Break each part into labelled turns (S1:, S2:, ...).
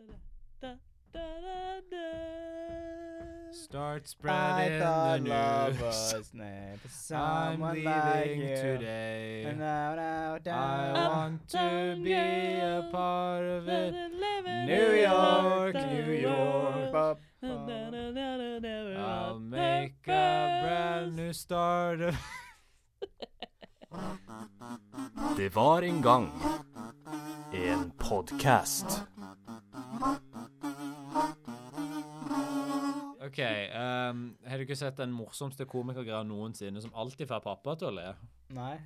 S1: da, da, da, da.
S2: Start
S3: I
S2: spreading the
S3: thought love
S2: news.
S3: was made for
S2: I'm
S3: someone like
S2: leaving
S3: you.
S2: today.
S3: Now, now,
S2: I
S3: down.
S2: want to be a
S1: girl.
S2: part of it.
S3: New
S2: York,
S3: York, New York. Ba- ba-
S1: I'll
S2: I'll make a brand new start. of-
S4: Det var en gang en podkast.
S2: OK. Um, har du ikke sett den morsomste komikergreia noensinne, som alltid får pappa til å le?
S3: Nei.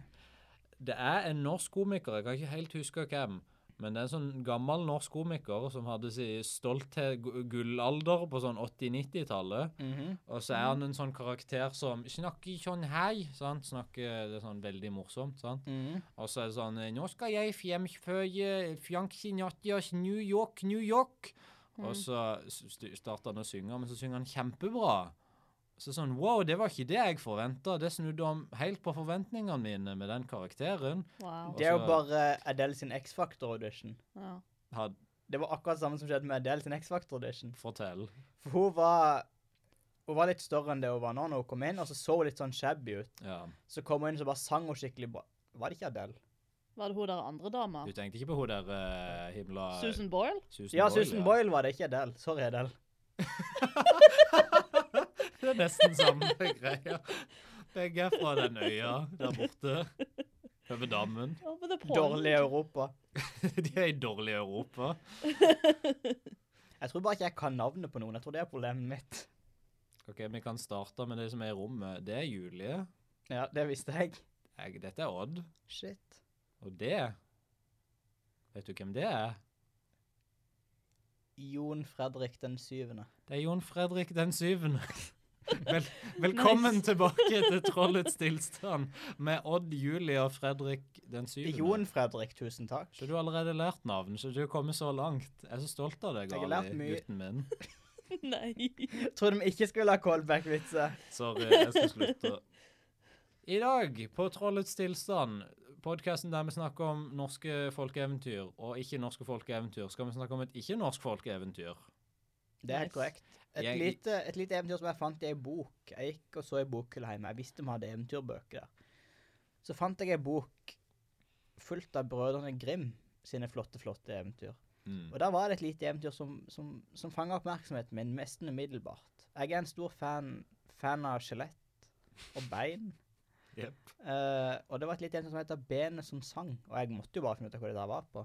S2: Det er en norsk komiker, jeg kan ikke helt huske hvem. Men det er en sånn gammel norsk komiker som hadde si stolt til gu- gullalder på sånn 80-90-tallet.
S3: Mhm.
S2: Og så er han en sånn karakter som snakker sånn hei, sant? Snakker det er sånn veldig morsomt, sant?
S3: Mhm.
S2: Og så er det sånn Nå skal jeg fremføre Frank Sinatias New York, New York.
S3: Mm.
S2: Og så s- st- starter han å synge, men så synger han kjempebra. Så sånn Wow, det var ikke det jeg forventa. Det snudde om helt på forventningene mine med den karakteren.
S1: Wow.
S3: Det er jo
S2: Også-
S3: bare Adele sin X-Factor-audition.
S1: Ja.
S2: Had,
S3: Det var akkurat samme som skjedde med Adele sin X-Factor-audition.
S2: fortell.
S3: For hun var Hun var litt større enn det hun var nå når hun kom inn, og så så hun litt sånn shabby ut.
S2: Ja.
S3: Så kom hun inn og så bare sang hun skikkelig bra. Var det ikke Adele?
S1: Var det hun der andre dama?
S2: Du tenkte ikke på hun der eh, himla
S1: Susan Boyle?
S2: Susan
S3: Ja, Susan Boyle var det, ikke Adele. Sorry, Adele.
S2: Det er nesten samme greia. Begge er fra den øya der borte. Over dammen.
S1: Oh, but the point.
S3: Dårlig Europa.
S2: De er i dårlig Europa.
S3: Jeg tror bare ikke jeg kan navnet på noen. Jeg tror det er problemet mitt.
S2: OK, vi kan starte med det som er i rommet. Det er Julie.
S3: Ja, det visste jeg.
S2: Jeg, dette er Odd.
S3: Shit.
S2: Og det Vet du hvem det er?
S3: Jon Fredrik den syvende.
S2: Det er Jon Fredrik den syvende. Vel, velkommen
S1: Nice.
S2: tilbake til Trollets tilstand med Odd, Julie og Fredrik den syvende.
S3: Jon Fredrik, tusen takk.
S2: Så du har allerede lært navn, så du har kommet så langt. Jeg er så stolt av deg,
S3: Jeg har lært
S2: Ali,
S3: mye.
S2: gutten min.
S1: Nei.
S3: Jeg trodde vi ikke skulle ha callback-vitser.
S2: Sorry, jeg skal slutte. I dag, på Trollets tilstand, podkasten der vi snakker om norske folkeeventyr og ikke-norske folkeeventyr, skal vi snakke om et ikke-norsk folkeeventyr.
S3: Det er helt
S1: Nice.
S3: korrekt. Et,
S2: Jeg-
S3: lite, et lite eventyr som jeg fant i ei bok. Jeg gikk og så i bokhylla hjemme. Jeg visste vi hadde eventyrbøker der. Så fant jeg ei bok fullt av brødrene Grim sine flotte, flotte eventyr.
S2: Mm.
S3: Og der var det et lite eventyr som, som, som fanga oppmerksomheten min nesten umiddelbart. Jeg er en stor fan, fan av skjelett og bein.
S2: Jep.
S3: Eh, og det var et lite eventyr som heter 'Benet som sang', og jeg måtte jo bare finne ut av hva det der var på.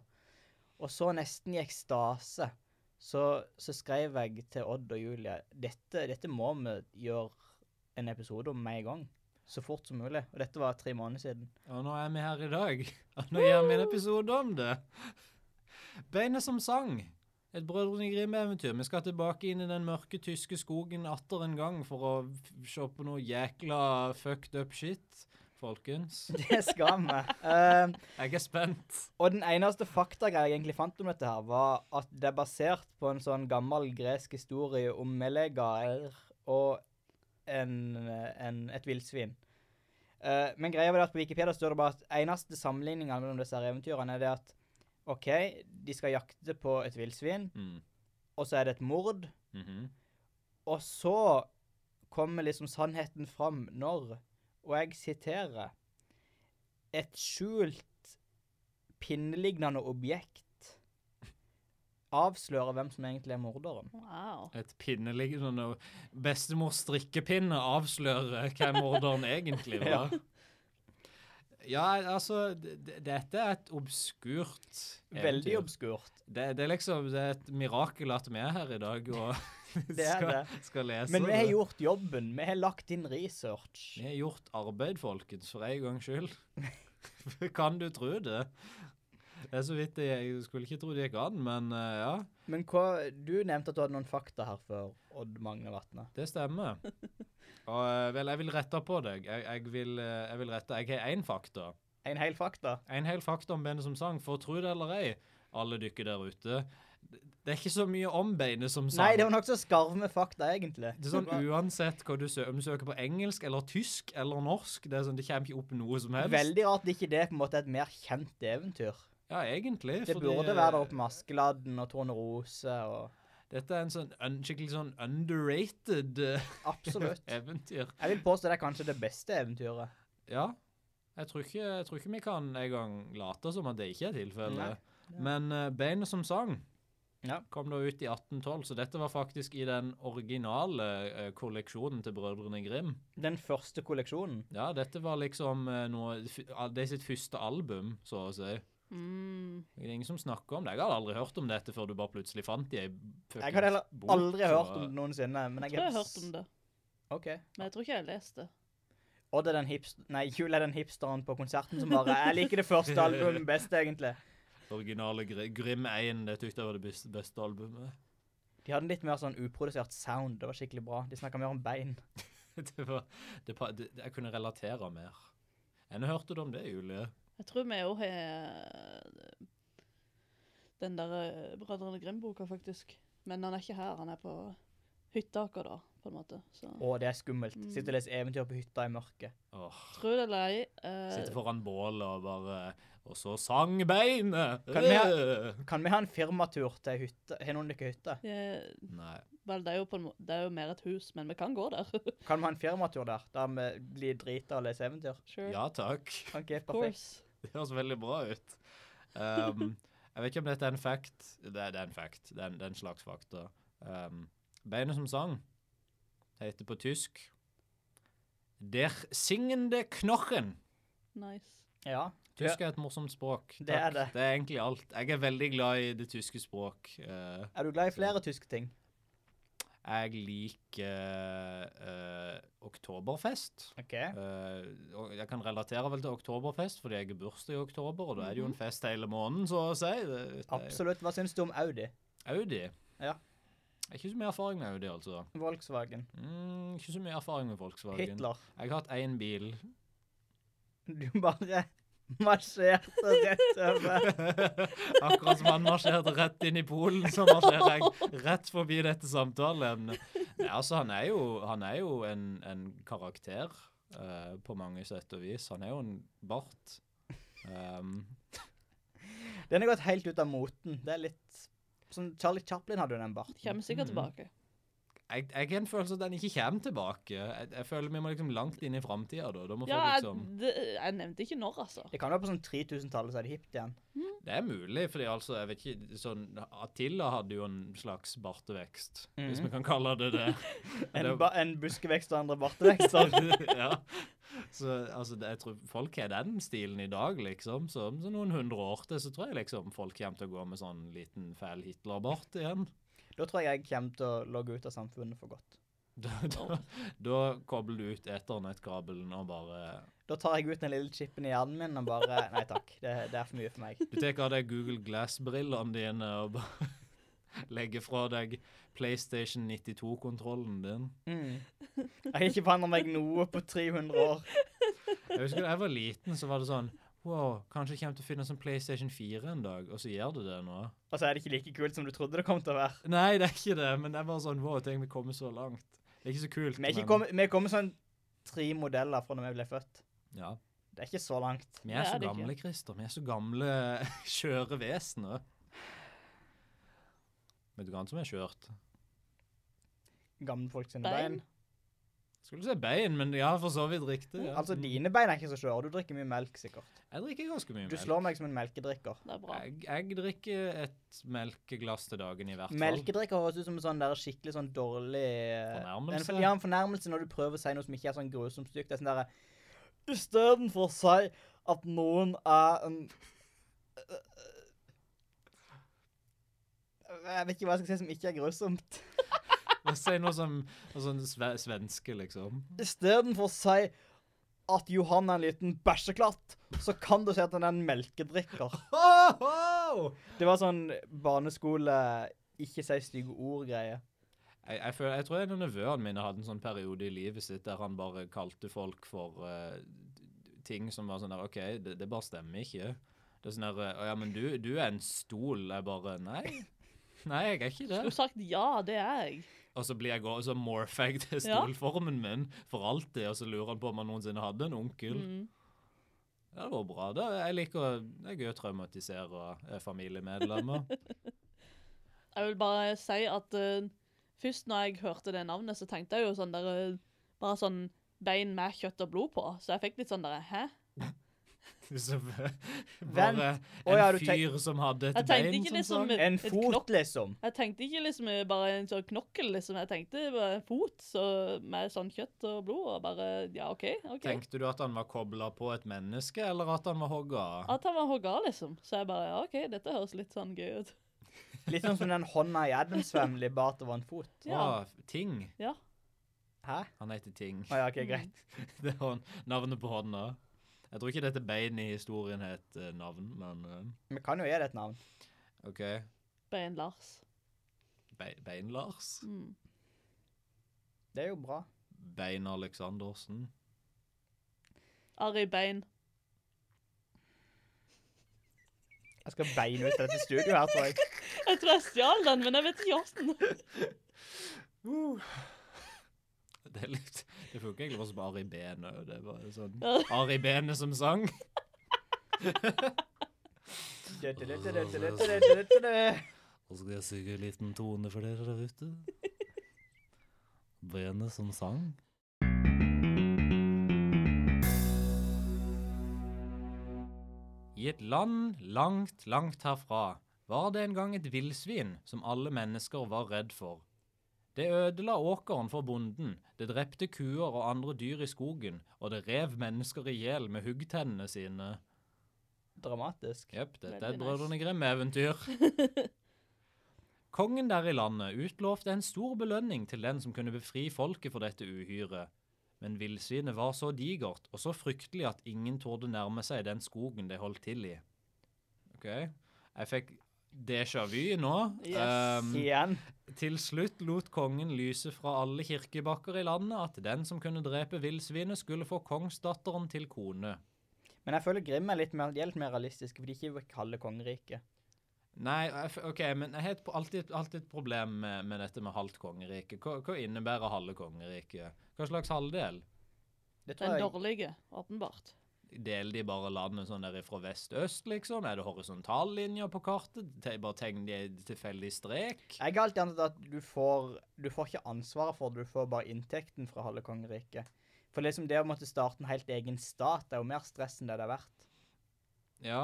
S3: Og så, nesten i ekstase, så, så skrev jeg til Odd og Julie dette, dette må vi gjøre en episode om med en gang. Så fort som mulig. Og dette var tre måneder siden.
S2: Og nå er vi her i dag. Og nå gjør vi en episode om det. Beinet som sang. Et Brødrene Grim-eventyr. Vi skal tilbake inn i den mørke tyske skogen atter en gang for å f- se på noe jækla fucked up shit, folkens.
S3: Det skal vi. Eh,
S2: Jeg er spent.
S3: og den eneste faktagreia jeg egentlig fant om dette, her, var at det er basert på en sånn gammel gresk historie om melegaer og en, en, et villsvin. Eh, men greia var det at på Wikipedia står det bare at eneste sammenligningene mellom disse her eventyrene er det at OK, de skal jakte på et villsvin,
S2: Mm.
S3: og så er det et mord,
S2: Mhm.
S3: og så kommer liksom sannheten fram når, og jeg siterer Et skjult pinnelignende objekt avslører hvem som egentlig er morderen.
S1: Wow.
S2: Et pinneliggende Bestemors strikkepinne avslører hvem morderen egentlig var. Ja, altså d- d- Dette er et obskurt
S3: Veldig
S2: eventyr.
S3: obskurt.
S2: Det, det er liksom det er et mirakel at vi er her i dag og
S3: Det er
S2: skal,
S3: det.
S2: skal lese
S3: Men vi har
S2: det.
S3: gjort jobben. Vi har lagt inn research.
S2: Vi har gjort arbeid, folkens, for en gangs skyld. kan du tro det? Det er så vidt jeg, jeg skulle ikke tro det gikk an, men eh, ja,
S3: Men hva, du nevnte at du hadde noen fakta her før, Odd Magne Vatne.
S2: det stemmer. Og eh, vel, jeg vil rette på deg. Jeg, jeg, vil, eh, jeg vil rette Jeg har én fakta.
S3: En hel fakta?
S2: En hel fakta om beinet som sang, for tro det eller ei, alle dykker der ute. Det det er ikke så mye om beinet som sang.
S3: Nei, det var nokså skarve fakta, egentlig.
S2: Det er sånn Uansett hva du søker, om du søker på engelsk eller tysk eller norsk, det er sånn, det kommer ikke opp noe som helst.
S3: Veldig rart ikke det er på en måte et mer kjent eventyr.
S2: Ja, egentlig.
S3: Det
S2: fordi- eh,
S3: burde være der oppe med Askeladden og Tornerose og
S2: Dette er en sånn un, skikkelig sånn underrated eh,
S3: Absolutt.
S2: eventyr.
S3: Jeg vil påstå det er kanskje det beste eventyret.
S2: Ja. Jeg tror ikke, jeg tror ikke vi kan engang late som at det ikke er tilfellet. Men uh, Beinet som sang
S3: Ja.
S2: kom da ut i 1812, så dette var faktisk i den originale eh, kolleksjonen til Brødrene Grim.
S3: Den første kolleksjonen.
S2: Ja, dette var liksom eh, noe f- ah, Det er sitt første album, så å si.
S1: Mm.
S2: Det er ingen som snakker om det. Jeg hadde aldri hørt om dette før du bare plutselig fant det i ei
S3: Jeg hadde heller
S2: fuckings bok,
S3: aldri
S2: så-
S3: hørt om det noensinne. Men
S1: Jeg
S3: jeg
S1: tror jeg har hørt om det,
S3: Ok.
S1: men jeg tror ikke jeg har lest det.
S3: Odd er den hipst... Nei, Jul er den hipsteren på konserten som bare Jeg liker det første albumet best, egentlig.
S2: Originale Gr- Grim 1, det tykte jeg var det beste, beste albumet.
S3: De hadde en litt mer sånn uprodusert sound. Det var skikkelig bra. De snakka mer om bein.
S2: Det var, det, pa- det, jeg kunne relatere mer. Enn hørte du om det, Julie?
S1: Jeg tror vi òg har eh, den der eh, Brødrene Grim-boka, faktisk. Men han er ikke her, han er på hytteaker, da, på en måte. Så
S3: Å, det er skummelt.
S1: Mm.
S3: Sitte og lese eventyr på hytta i mørket.
S2: Åh,
S1: tro det eller ei eh,
S2: sitte foran bålet og bare Og så Øh. sang beinet!
S3: Kan vi ha- Kan vi ha en firmatur til hytte? Har noen dere hytte?
S1: eh,
S2: Nei.
S1: Vel, det er, jo på en må det er jo mer et hus, men vi kan gå der.
S3: Kan vi ha en firmatur der? Der vi blir drita og leser eventyr?
S1: sure,
S2: Ja takk.
S3: Ok,
S1: of
S3: perfekt.
S1: course.
S2: Det høres veldig bra ut. Um, jeg vet ikke om dette er en fact. Det er, det er en fact. Det er en, det er en slags fakta. Um, beinet som sang heter på tysk Der singende knochen.
S1: Nice.
S3: Ja.
S2: Tysk er et morsomt språk.
S3: Det er
S2: Takk.
S3: det.
S2: Det er egentlig alt. Jeg er veldig glad i det tyske språk. Eh,
S3: Er du glad i flere tyske ting?
S2: jeg liker eh, oktoberfest.
S3: OK.
S2: Eh, og jeg kan relatere vel til oktoberfest, fordi jeg er bursdag i oktober, og da er det jo en fest hele måneden, så å si. Det- det er jo-
S3: Mhm. Absolutt. Hva syns du om Audi?
S2: Audi. Jeg
S3: Ja.
S2: har Ikke så mye erfaring med Audi, altså.
S3: Volkswagen?
S2: Mm, ikke så mye erfaring med Volkswagen.
S3: Hitler?
S2: Jeg har hatt én bil.
S3: Du bare marsjerte rett over.
S2: Akkurat som han marsjerte rett inn i Polen, så marsjerer jeg rett forbi dette samtaleemnet. Nei, altså, han er jo, han er jo en, en karakter eh, på mange sett og vis. Han er jo en bart. Ehm,
S3: Den har gått helt ut av moten. Det er litt sånn Charlie Chaplin hadde jo den barten.
S1: Kommer sikkert
S2: Mhm.
S1: tilbake.
S2: jeg, jeg har en følelse at den ikke kommer tilbake. Jeg, jeg føler vi må liksom langt inn i framtida da. da må
S1: Ja,
S2: folk
S1: jeg,
S2: liksom,
S1: det, jeg nevnte ikke når, altså.
S3: Det kan være på sånn 3000-tallet så er det hipt igjen.
S2: det er mulig, fordi altså, jeg vet ikke sånn, Attila hadde jo en slags bartevekst, hvis
S1: Mm.
S3: Mhm.
S2: vi kan kalle det det.
S3: En,
S2: Det-
S3: ba en buskevekst og andre bartevekster.
S2: ja. Så altså, det- jeg tror folk har den stilen i dag, liksom. Så om så noen hundre år til, så tror jeg liksom folk kommer til å gå med sånn liten fæl Hitler-bart igjen.
S3: da tror jeg jeg kommer til å logge ut av samfunnet for godt.
S2: Da, da, da kobler du ut eternettkabelen og bare
S3: Da tar jeg ut den lille chipen i hjernen min og bare Nei takk, det, det er for mye for meg.
S2: Du tar av deg Google Glass-brillene dine og bare legger fra deg PlayStation 92-kontrollen din.
S3: Mm. Jeg har ikke forandret meg noe på 300 år.
S2: Jeg husker da jeg var liten, så var det sånn Wow, kanskje jeg kommer til å finnes en PlayStation 4 en dag, og så gjør det det nå.
S3: Og så er det ikke like kult som du trodde det kom til å være.
S2: Nei, det er ikke det, men det er bare sånn Wow, tenk vi kommer så langt. Det er ikke så kult.
S3: Vi er ikke
S2: men-
S3: kommet- vi er kommet sånn tre modeller fra når vi ble født.
S2: Ja.
S3: Det er ikke så langt.
S2: Vi
S1: Det
S2: er
S1: er
S2: så
S1: det ikke.
S2: gamle, Christer. Vi er så gamle skjøre vesener. Vet du hva annet som er skjørt?
S3: Gamle folk sine
S1: Bein.
S3: bein.
S2: Skulle si bein, men ja, for så vidt riktig. Ja.
S3: Altså, dine bein er ikke så skjøre. Du drikker mye melk, sikkert.
S2: Jeg drikker ganske mye
S3: Du
S2: melk.
S3: slår meg som en melkedrikker.
S1: Det er bra.
S2: Jeg, jeg drikker et melkeglass til dagen i hvert fall.
S3: Melkedrikker høres ut som en sånn der skikkelig sånn dårlig eh,
S2: Fornærmelse?
S3: En, for- ja, en fornærmelse når du prøver å si noe som ikke er sånn grusomt stygt. Det er sånn derre Istedenfor å si at noen er en Jeg vet ikke hva jeg skal si som ikke er grusomt.
S2: Og si noe som noe sånn sve, svenske, liksom.
S3: Istedenfor å si at Johan er en liten bæsjeklatt, så kan du si at han er en melkedrikker. Det var sånn barneskole ikke si stygge ord-greie.
S2: Jeg, jeg, føler, jeg tror en av nevøene mine hadde en sånn periode i livet sitt der han bare kalte folk for eh, ting som var sånn der OK, det, det bare stemmer ikke. Det er sånn der eh, Ja, men du, du er en stol. Jeg bare Nei. Nei, jeg er ikke
S1: Skulle
S2: det.
S1: sagt ja, det er jeg.
S2: Og så blir jeg gå- så morfer jeg til
S1: Ja.
S2: stolformen min for alltid, og så lurer han på om han noensinne hadde en onkel.
S1: Mm.
S2: Ja, Det var bra. Det, jeg liker å- det er gøy å traumatisere eh, familiemedlemmer.
S1: Jeg vil bare si at eh, først når jeg hørte det navnet, så tenkte jeg jo sånn der eh, Bare sånn bein med kjøtt og blod på. Så jeg fikk litt sånn der Hæ?
S2: Så eh,
S3: Vent.
S2: bare en
S3: Å ja, du tenk-
S2: fyr som hadde et
S1: Jeg tenkte
S2: bein
S1: ikke
S2: som
S1: liksom
S2: sånn.
S1: et,
S3: En
S1: et knokk.
S3: fot, liksom.
S1: Jeg tenkte ikke liksom eh, bare en sånn knokkel, liksom. Jeg tenkte bare en fot så, med sånn kjøtt og blod, og bare Ja, OK. ok.
S2: Tenkte du at han var kobla på et menneske, eller at han var hogga?
S1: At han var hogga, liksom. Så jeg bare Ja, OK, dette høres litt sånn gøy ut.
S3: Litt sånn som den hånda i Adams Family, bare at det var en fot.
S2: Å,
S1: Ja.
S2: Ting.
S1: Ja.
S3: Hæ?
S2: Han heter Ting.
S3: Å ja, OK,
S1: Mm.
S3: greit.
S2: Det er hånd- navnet på hånda. Jeg tror ikke dette beinet i historien het eh, navn, men eh,
S3: Vi kan jo gi det et navn.
S2: OK.
S1: Bein Lars.
S2: Be Bein-Lars?
S1: Mm.
S3: Det er jo bra.
S2: Bein-Aleksandersen?
S1: Ari Bein.
S3: Jeg skal beine ut dette studioet her, tror jeg.
S1: Jeg tror jeg stjal den, men jeg vet ikke hvordan.
S2: Det er litt Det funker egentlig bare som Ari Bene. Det er bare sånn
S1: Ja.
S2: Ari Bene som sang. Og skal jeg synge en liten tone for dere der ute. Benet som sang. I et land langt, langt herfra var det en gang et villsvin som alle mennesker var redd for. Det ødela åkeren for bonden, det drepte kuer og andre dyr i skogen, og det rev mennesker i hjel med huggtennene sine.
S3: Dramatisk.
S2: Jepp, dette er
S1: Veldig
S2: et
S1: nice.
S2: Brødrene Grim-eventyr. Kongen der i landet utlovte en stor belønning til den som kunne befri folket for dette uhyret. Men villsvinet var så digert og så fryktelig at ingen torde nærme seg den skogen det holdt til i. OK. Jeg fikk déjà vu nå.
S1: Yes.
S2: Ehm,
S3: Igjen.
S2: til slutt lot kongen lyse fra alle kirkebakker i landet at den som kunne drepe villsvinet, skulle få kongsdatteren til kone.
S3: Men jeg føler Grimm er litt mer, de er litt mer realistiske, for de ikke vil kalle kongeriket.
S2: Nei, jeg f- OK, men jeg har et pro- alltid, et- alltid et problem med, med dette med halvt kongerike. Hva, hva innebærer halve kongeriket? Hva slags halvdel?
S3: Det tror
S1: Den
S3: jeg
S1: dårlige, åpenbart.
S2: Deler de bare landet sånn der fra vest-øst, liksom? Er det horisontallinjer på kartet? Te- Bare tegner de en tilfeldig strek?
S3: Jeg har alltid antatt at du får, du får ikke ansvaret for det, du får bare inntekten fra halve kongeriket. For liksom det å måtte starte en helt egen stat er jo mer stress enn det det er verdt.
S2: Ja.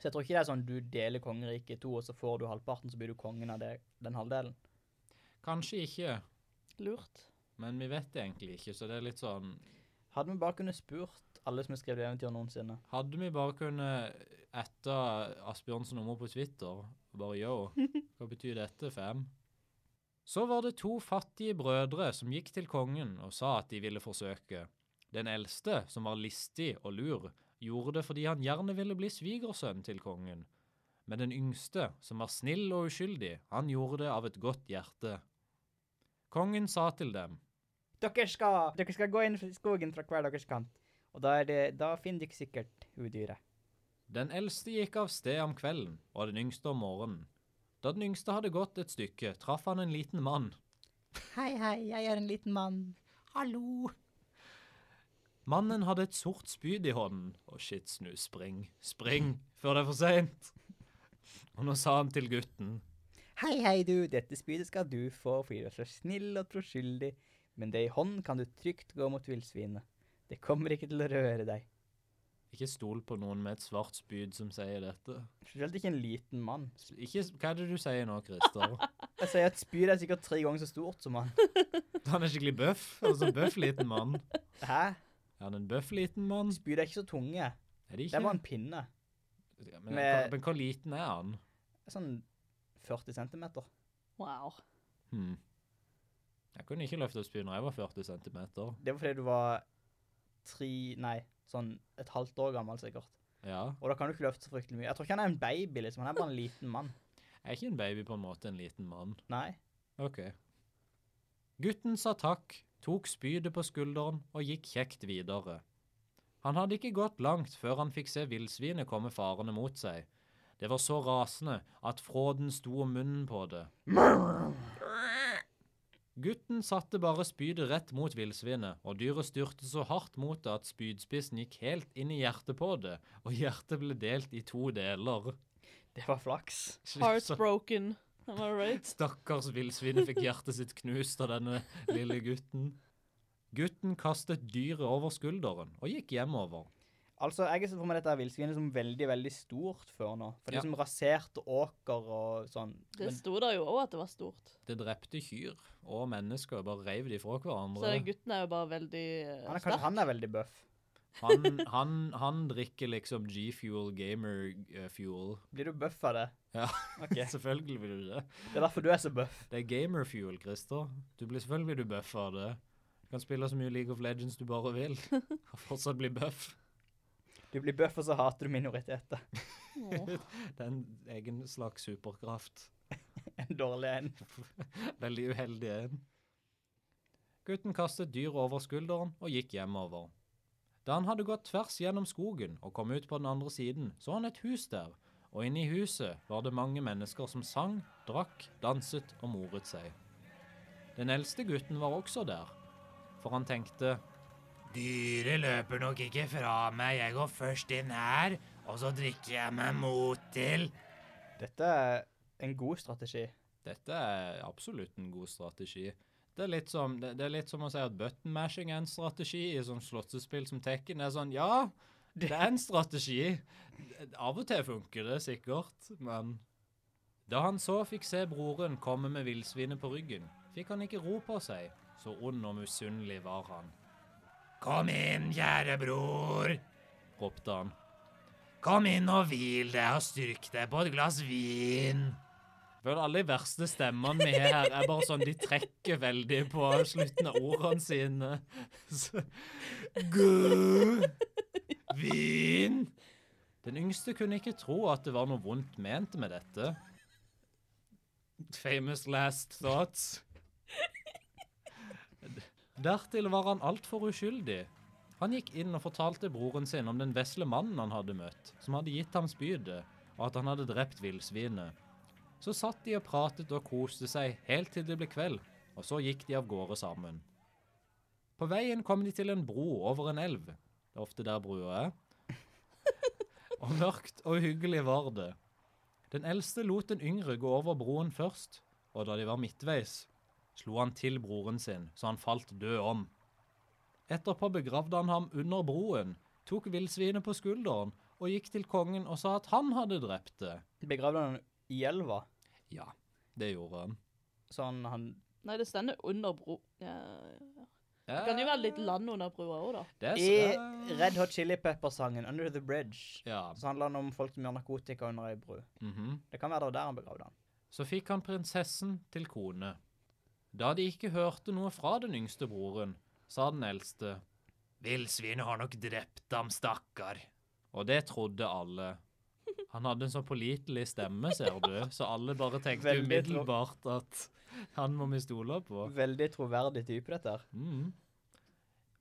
S3: Så jeg tror ikke det er sånn du deler kongeriket i to, og så får du halvparten, så blir du kongen av det, den halvdelen.
S2: Kanskje ikke,
S1: Lurt.
S2: men vi vet det egentlig ikke, så det er litt sånn
S3: Hadde vi bare kunnet spurt alle som har skrevet eventyr noensinne.
S2: Hadde vi bare kunnet etter Asbjørnsen og Mo på Twitter bare yo, hva betyr dette, fam? Så var det to fattige brødre som gikk til kongen og sa at de ville forsøke. Den eldste, som var listig og lur, gjorde det fordi han gjerne ville bli svigersønn til kongen. Men den yngste, som var snill og uskyldig, han gjorde det av et godt hjerte. Kongen sa til dem,
S3: Dere skal, dere skal gå inn i skogen fra hver deres kant, og da, er det, da finner dere sikkert udyret.
S2: Den eldste gikk av sted om kvelden, og den yngste om morgenen. Da den yngste hadde gått et stykke, traff han en liten mann.
S3: Hei, hei, jeg er en liten mann. Hallo.
S2: Mannen hadde et sort spyd i hånden. Å, shit, snu, spring, spring, før det er for seint. Og nå sa han til gutten.
S3: Hei, hei, du. Dette spydet skal du få fordi du er så snill og troskyldig. Men det i hånden kan du trygt gå mot villsvinet. Det kommer ikke til å røre deg.
S2: Ikke stol på noen med et svart spyd som sier dette.
S3: Spesielt ikke en liten mann.
S2: Ikke, hva er det du sier nå, Christer?
S3: Jeg sier at spydet er sikkert tre ganger så stort som han.
S2: Han er skikkelig bøff. Altså en bøff liten mann.
S3: Hæ?
S2: Er han en bøff liten mann?
S3: Spydet er ikke så tunge.
S2: Er det
S3: Det
S2: ikke?
S3: var en pinne.
S2: Ja, men,
S3: med-
S2: men hvor liten er han?
S3: Sånn 40 centimeter.
S1: Wow.
S2: Hmm. Jeg kunne ikke løfte opp spyd når jeg var 40 centimeter.
S3: Det var fordi du var tre Nei, sånn et halvt år gammel sikkert.
S2: Ja.
S3: Og da kan du ikke løfte så fryktelig mye. Jeg tror ikke han er en baby, liksom. Han er bare en liten mann.
S2: Jeg er ikke en baby på en måte, en liten mann.
S3: Nei.
S2: Ok. Gutten sa takk, tok spydet på skulderen og gikk kjekt videre. Han hadde ikke gått langt før han fikk se villsvinet komme farende mot seg. Det var så rasende at fråden sto om munnen på det. Gutten satte bare spydet rett mot villsvinet, og dyret styrte så hardt mot det at spydspissen gikk helt inn i hjertet på det, og hjertet ble delt i to deler.
S3: Det var flaks.
S2: sånn.
S1: Heartbroken. Am I right?
S2: Stakkars villsvinet fikk hjertet sitt knust av denne lille gutten. Gutten kastet dyret over skulderen og gikk hjemover.
S3: Altså, Jeg ser for meg dette her villsvinet som veldig veldig stort før nå. For
S2: Ja.
S3: det er som raserte åker og sånn.
S1: Det
S3: Men
S1: sto der jo òg at det var stort.
S2: Det drepte kyr og mennesker, bare reiv de fra
S1: Så den
S2: hverandre.
S1: gutten er jo bare veldig eh,
S3: han er, kanskje
S1: sterk.
S3: han er veldig bøff.
S2: Han, han, han drikker liksom G-fuel, gamer-fuel.
S3: Blir du bøff av det?
S2: Ja.
S3: Ok.
S2: Selvfølgelig blir du det.
S3: Det er derfor du er så bøff.
S2: Det er gamer-fuel, Christer. Du blir selvfølgelig du buff av det. Du kan spille så mye League of Legends du bare vil, og fortsatt bli buff.
S3: Du blir bøff, og så hater du minoriteter.
S1: Åh.
S2: Det er en egen slags superkraft.
S3: En dårlig en.
S2: Veldig uheldig en. Gutten kastet dyret over skulderen og gikk hjemover. Da han hadde gått tvers gjennom skogen og kom ut på den andre siden, så han et hus der, og inne i huset var det mange mennesker som sang, drakk, danset og moret seg. Den eldste gutten var også der, for han tenkte Dyret løper nok ikke fra meg, jeg går først inn her, og så drikker jeg meg mot til.
S3: Dette er en god strategi.
S2: Dette er absolutt en god strategi. Det er litt som, det, det er litt som å si at button mashing er en strategi i sånn slåssespill som Tekken. Det er sånn, ja, det er en strategi. Av og til funker det sikkert, men Da han så fikk se broren komme med villsvinet på ryggen, fikk han ikke ro på seg. Så ond og misunnelig var han. Kom inn, kjære bror, ropte han. Kom inn og hvil deg og styrk deg på et glass vin. Føler alle de verste stemmene vi har her, er bare sånn De trekker veldig på slutten av ordene sine. Så, Gud! Vin! Den yngste kunne ikke tro at det var noe vondt ment med dette. Famous last thoughts. Dertil var han altfor uskyldig. Han gikk inn og fortalte broren sin om den vesle mannen han hadde møtt, som hadde gitt ham spydet, og at han hadde drept villsvinet. Så satt de og pratet og koste seg helt til det ble kveld, og så gikk de av gårde sammen. På veien kom de til en bro over en elv. Det er ofte der brua er. Og mørkt og uhyggelig var det. Den eldste lot den yngre gå over broen først, og da de var midtveis, slo han til broren sin, så han falt død om. Etterpå begravde han ham under broen, tok villsvinet på skulderen og gikk til kongen og sa at han hadde drept det.
S3: Begravde han i elva,
S2: Ja, det gjorde han.
S3: sånn han
S1: Nei, det stender under bro... Ja, ja. Det kan jo være litt land under brua òg, da.
S2: Det er
S3: I
S2: så-
S3: Red Hot Chili Pepper-sangen 'Under the Bridge'
S2: Ja.
S3: så handler den om folk som gjør narkotika under ei bru.
S2: mhm.
S3: Det kan være det var der han begravde han.
S2: Så fikk han prinsessen til kone. Da de ikke hørte noe fra den yngste broren, sa den eldste Villsvinet har nok drept ham, stakkar. Og det trodde alle. Han hadde en så pålitelig stemme, ser du, så alle bare tenkte
S3: Veldig tro-
S2: umiddelbart at han må vi stole på.
S3: Veldig troverdig type, dette her.
S2: Mm.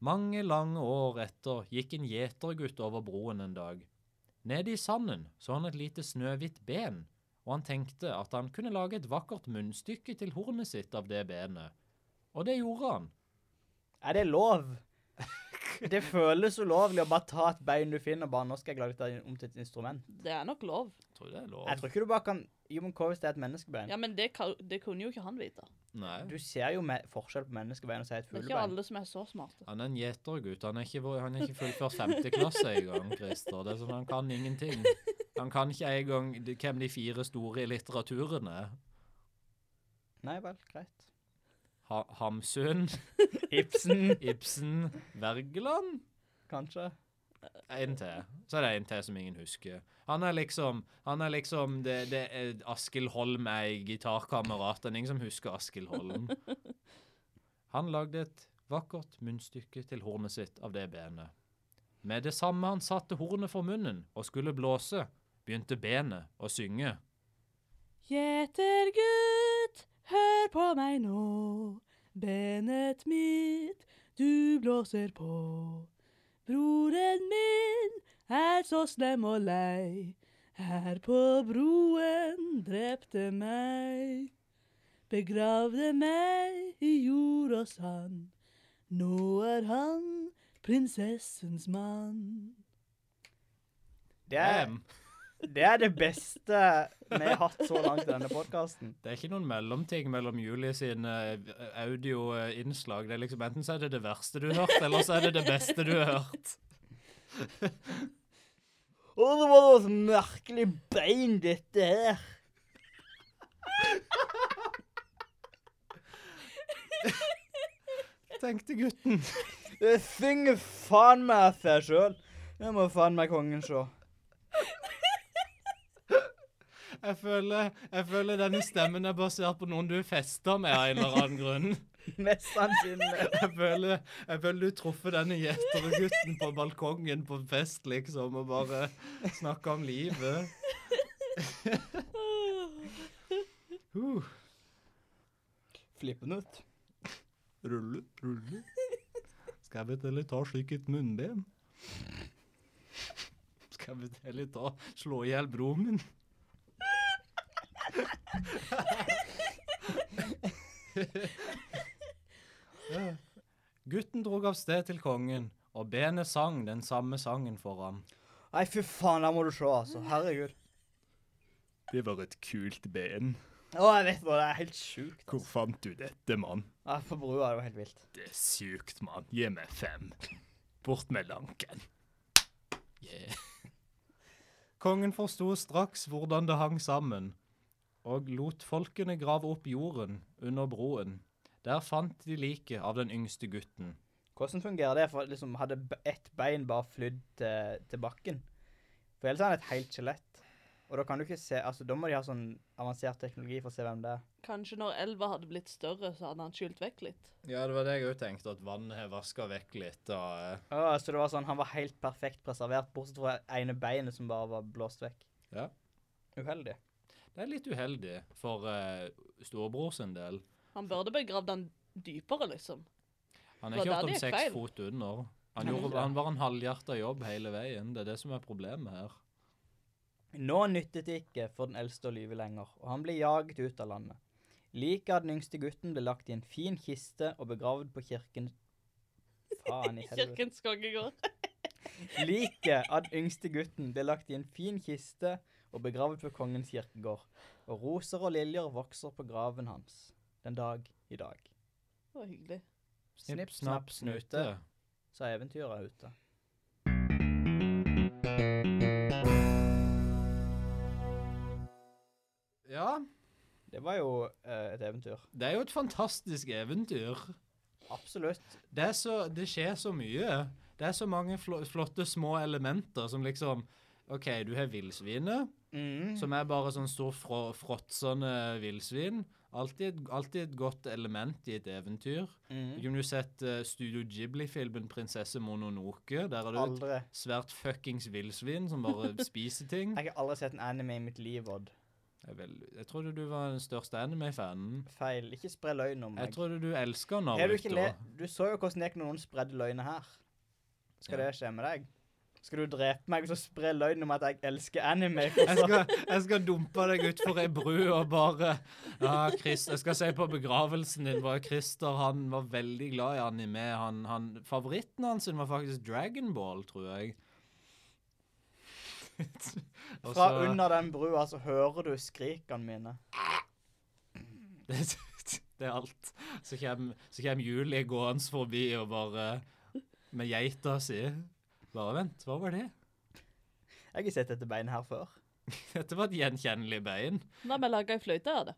S2: Mange lange år etter gikk en gjetergutt over broen en dag. Nede i sanden så han et lite snøhvitt ben, og han tenkte at han kunne lage et vakkert munnstykke til hornet sitt av det benet. Og det gjorde han.
S3: Er det lov? Det føles ulovlig å bare ta et bein du finner, og bare 'nå skal jeg lage dette om til et instrument'.
S1: Det er nok lov.
S2: Tror det er lov.
S3: Jeg tror ikke du bare kan Jo, men hva hvis det er et menneskebein?
S1: Ja, men det, kan- det kunne jo ikke han vite.
S2: Nei.
S3: Du ser jo me forskjell på menneskebein og så er det et
S1: Det er ikke
S3: fuglebein.
S1: alle som er så smarte.
S2: Han er en gjetergutt. Han er ikke, vår- han er ikke fullført femte klasse engang, Christer. Det er sånn, han kan ingenting. Han kan ikke engang de- hvem de fire store i litteraturen er.
S3: Nei vel, greit.
S2: Ha Hamsun,
S3: Ibsen,
S2: Ibsen, Wergeland?
S3: kanskje.
S2: En til. Så er det en til som ingen husker. Han er liksom, han er liksom det, det er Askild Holm er en gitarkamerat. Det er ingen som husker Askild Holm. Han lagde et vakkert munnstykke til hornet sitt av det benet. Med det samme han satte hornet for munnen og skulle blåse, begynte benet å synge.
S1: Gjetergutt, hør på meg nå. Benet mitt, du blåser på. Broren min er så slem og lei. Her på broen drepte meg. Begravde meg i jord og sand. Nå er han prinsessens mann.
S3: Det er,
S2: Damn.
S3: Det er det beste vi har hatt så langt i denne podkasten.
S2: Det er ikke noen mellomting mellom Julie sin eh, audioinnslag. Det er liksom Enten så er det det verste du har hørt, eller så er det det beste du har hørt.
S3: Å, det var noe så merkelig bein, dette her.
S2: Tenkte gutten.
S3: Det synger faen meg av seg sjøl. Det må faen meg kongen se.
S2: Jeg føler, jeg føler denne stemmen er basert på noen du fester med av en eller annen grunn.
S3: Mest sannsynlig.
S2: Jeg føler, jeg føler du truffet denne gjetergutten på balkongen på fest, liksom, og bare snakka om livet. Uh.
S3: Flippen ut.
S2: Rulle, rulle. Skal vi til ta slik et munnben? Skal vi til ta slå i hjel broren min? Ja. Gutten drog av sted til kongen, og benet sang den samme sangen for ham.
S3: Nei, fy faen, der må du se, altså. Herregud.
S2: Det var et kult ben.
S3: Å, jeg vet hva, det er helt sjukt.
S2: Hvor fant du dette, mann?
S3: Ja, på brua, det var helt vilt.
S2: Det er sykt, mann. Gi meg fem. Bort med lanken. Yeah. Kongen forsto straks hvordan det hang sammen, og lot folkene grave opp jorden under broen. Der fant de liket av den yngste gutten.
S3: Hvordan fungerer det? For liksom, hadde b- ett bein bare flydd til, til bakken? For ellers er han et helt skjelett. Og da kan du ikke se Altså, da må de ha sånn avansert teknologi for å se hvem det er.
S1: Kanskje når elva hadde blitt større, så hadde han skylt vekk litt.
S2: Ja, det var det jeg òg tenkte, at vannet har vaska vekk litt. Og, eh,
S3: Å, så det var sånn Han var helt perfekt preservert, bortsett fra ene beinet som bare var blåst vekk.
S2: ja.
S3: Uheldig.
S2: Det er litt uheldig for eh, storebror sin del.
S1: Han burde begravd han dypere, liksom.
S2: Han
S1: Det
S2: er
S1: var
S2: ikke
S1: der
S2: hørt om
S1: det gikk
S2: seks
S1: feil.
S2: fot under. Han,
S3: Nei,
S2: gjorde,
S3: det-
S2: han var en halvhjerta jobb hele veien. Det er det som er problemet her.
S3: Nå nyttet det ikke for den eldste å lyve lenger, og han ble jaget ut av landet. Liket av den yngste gutten ble lagt i en fin kiste og begravd på kirken Faen i helvete.
S1: Kirkens kongegård.
S3: Liket av den yngste gutten ble lagt i en fin kiste og begravd ved kongens kirkegård, og roser og liljer vokser på graven hans den dag i dag.
S1: Det var hyggelig.
S3: Snipp, snapp, snute, sa eventyret ute.
S2: Ja,
S3: Det var jo eh, et eventyr.
S2: det er jo et fantastisk eventyr.
S3: Absolutt.
S2: Det, er så, det skjer så mye. Det er så mange flo- flotte små elementer som liksom OK, du har villsvinet,
S3: Mm.
S2: som er bare sånn stor frå, fråtsende villsvin. Alltid, alltid et godt element i et eventyr. Du
S3: Mm.
S2: kunne jo sett eh, Studio Ghibli-filmen 'Prinsesse Mononoke'. Der er det et
S3: Aldri.
S2: svært fuckings villsvin som bare spiser ting.
S3: Jeg har aldri sett en anime i mitt liv, Odd.
S2: Jeg, vel, jeg trodde du var den største anime-fanen.
S3: Feil. Ikke spre løgn om
S2: Jeg
S3: meg.
S2: trodde du elska
S3: Er du, ikke
S2: Naruto.
S3: le du så jo hvordan det gikk når noen spredde løgner her. Skal
S2: Ja.
S3: det skje med deg? Skal du drepe meg og så spre løgn om at jeg elsker anime?
S2: Jeg skal, jeg skal dumpe deg utfor ei bru og bare ja, Chris, Jeg skal si på begravelsen din var Christer han var veldig glad i anime. Han, han, favoritten hans sin var faktisk Dragonball, tror jeg. Og
S3: Fra
S2: så-
S3: under den brua så hører du skrikene mine.
S2: Det, det er alt. Så kommer, så kommer Julie gående forbi og bare Med geita si. Bare vent, hva var det?
S3: Jeg har ikke sett dette beinet her før.
S2: Dette var et gjenkjennelig bein.
S1: La meg lage ei fløyte av det.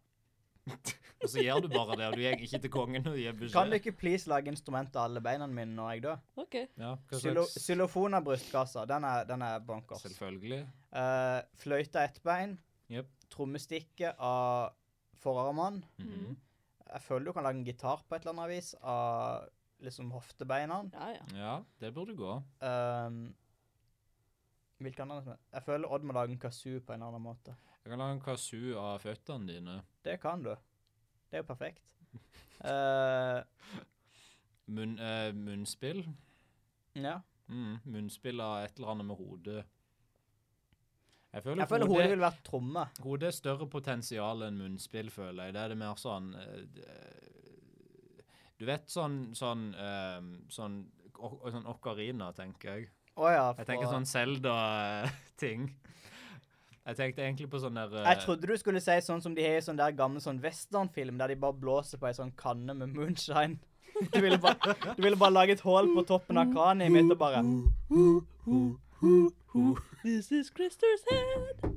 S2: Og så gjør du bare det, og du gikk ikke til kongen og gir
S3: Kan du
S2: beskjed.
S3: ikke please lage instrument av alle beina mine når jeg dør?
S1: OK.
S2: Ja, hva
S3: Xylo-
S2: slags?
S3: Xylofon av brystkassa. Den er, den er bonkers.
S2: Selvfølgelig.
S3: Uh, fløyte av ett bein.
S2: Jep.
S3: Trommestikke av forarmene.
S2: Mhm.
S3: Jeg føler du kan lage en gitar på et eller annet vis av liksom hoftebeina.
S1: Ja, ja.
S2: Ja, det burde gå.
S3: Um, hvilke andre som er- Jeg føler Odd må lage en kazoo på en eller annen måte.
S2: Jeg kan lage en kasu av føttene dine.
S3: Det kan du. Det er jo perfekt. Eh,
S2: Munn, eh, munnspill.
S3: ja.
S2: Mm, munnspill av et eller annet med hodet. Jeg føler,
S3: Jeg føler hodet
S2: hodet,
S3: ville vært tromme.
S2: Hodet er større potensial enn munnspill, føler jeg. Det er det mer sånn eh, d- Du vet sånn sånn, eh, sånn, o- sånn okarina, tenker sånn, jeg.
S3: Å ja.
S2: Jeg tenker
S3: fra-
S2: sånn Selda-ting. Jeg tenkte egentlig på sånn der eh,
S3: Jeg trodde du skulle si sånn som de har i sånn der gammel sånn westernfilm, der de bare blåser på ei sånn kanne med moonshine. Du ville bare, du ville bare lage et hull på toppen av kraniet mitt og bare
S1: This is Christers head.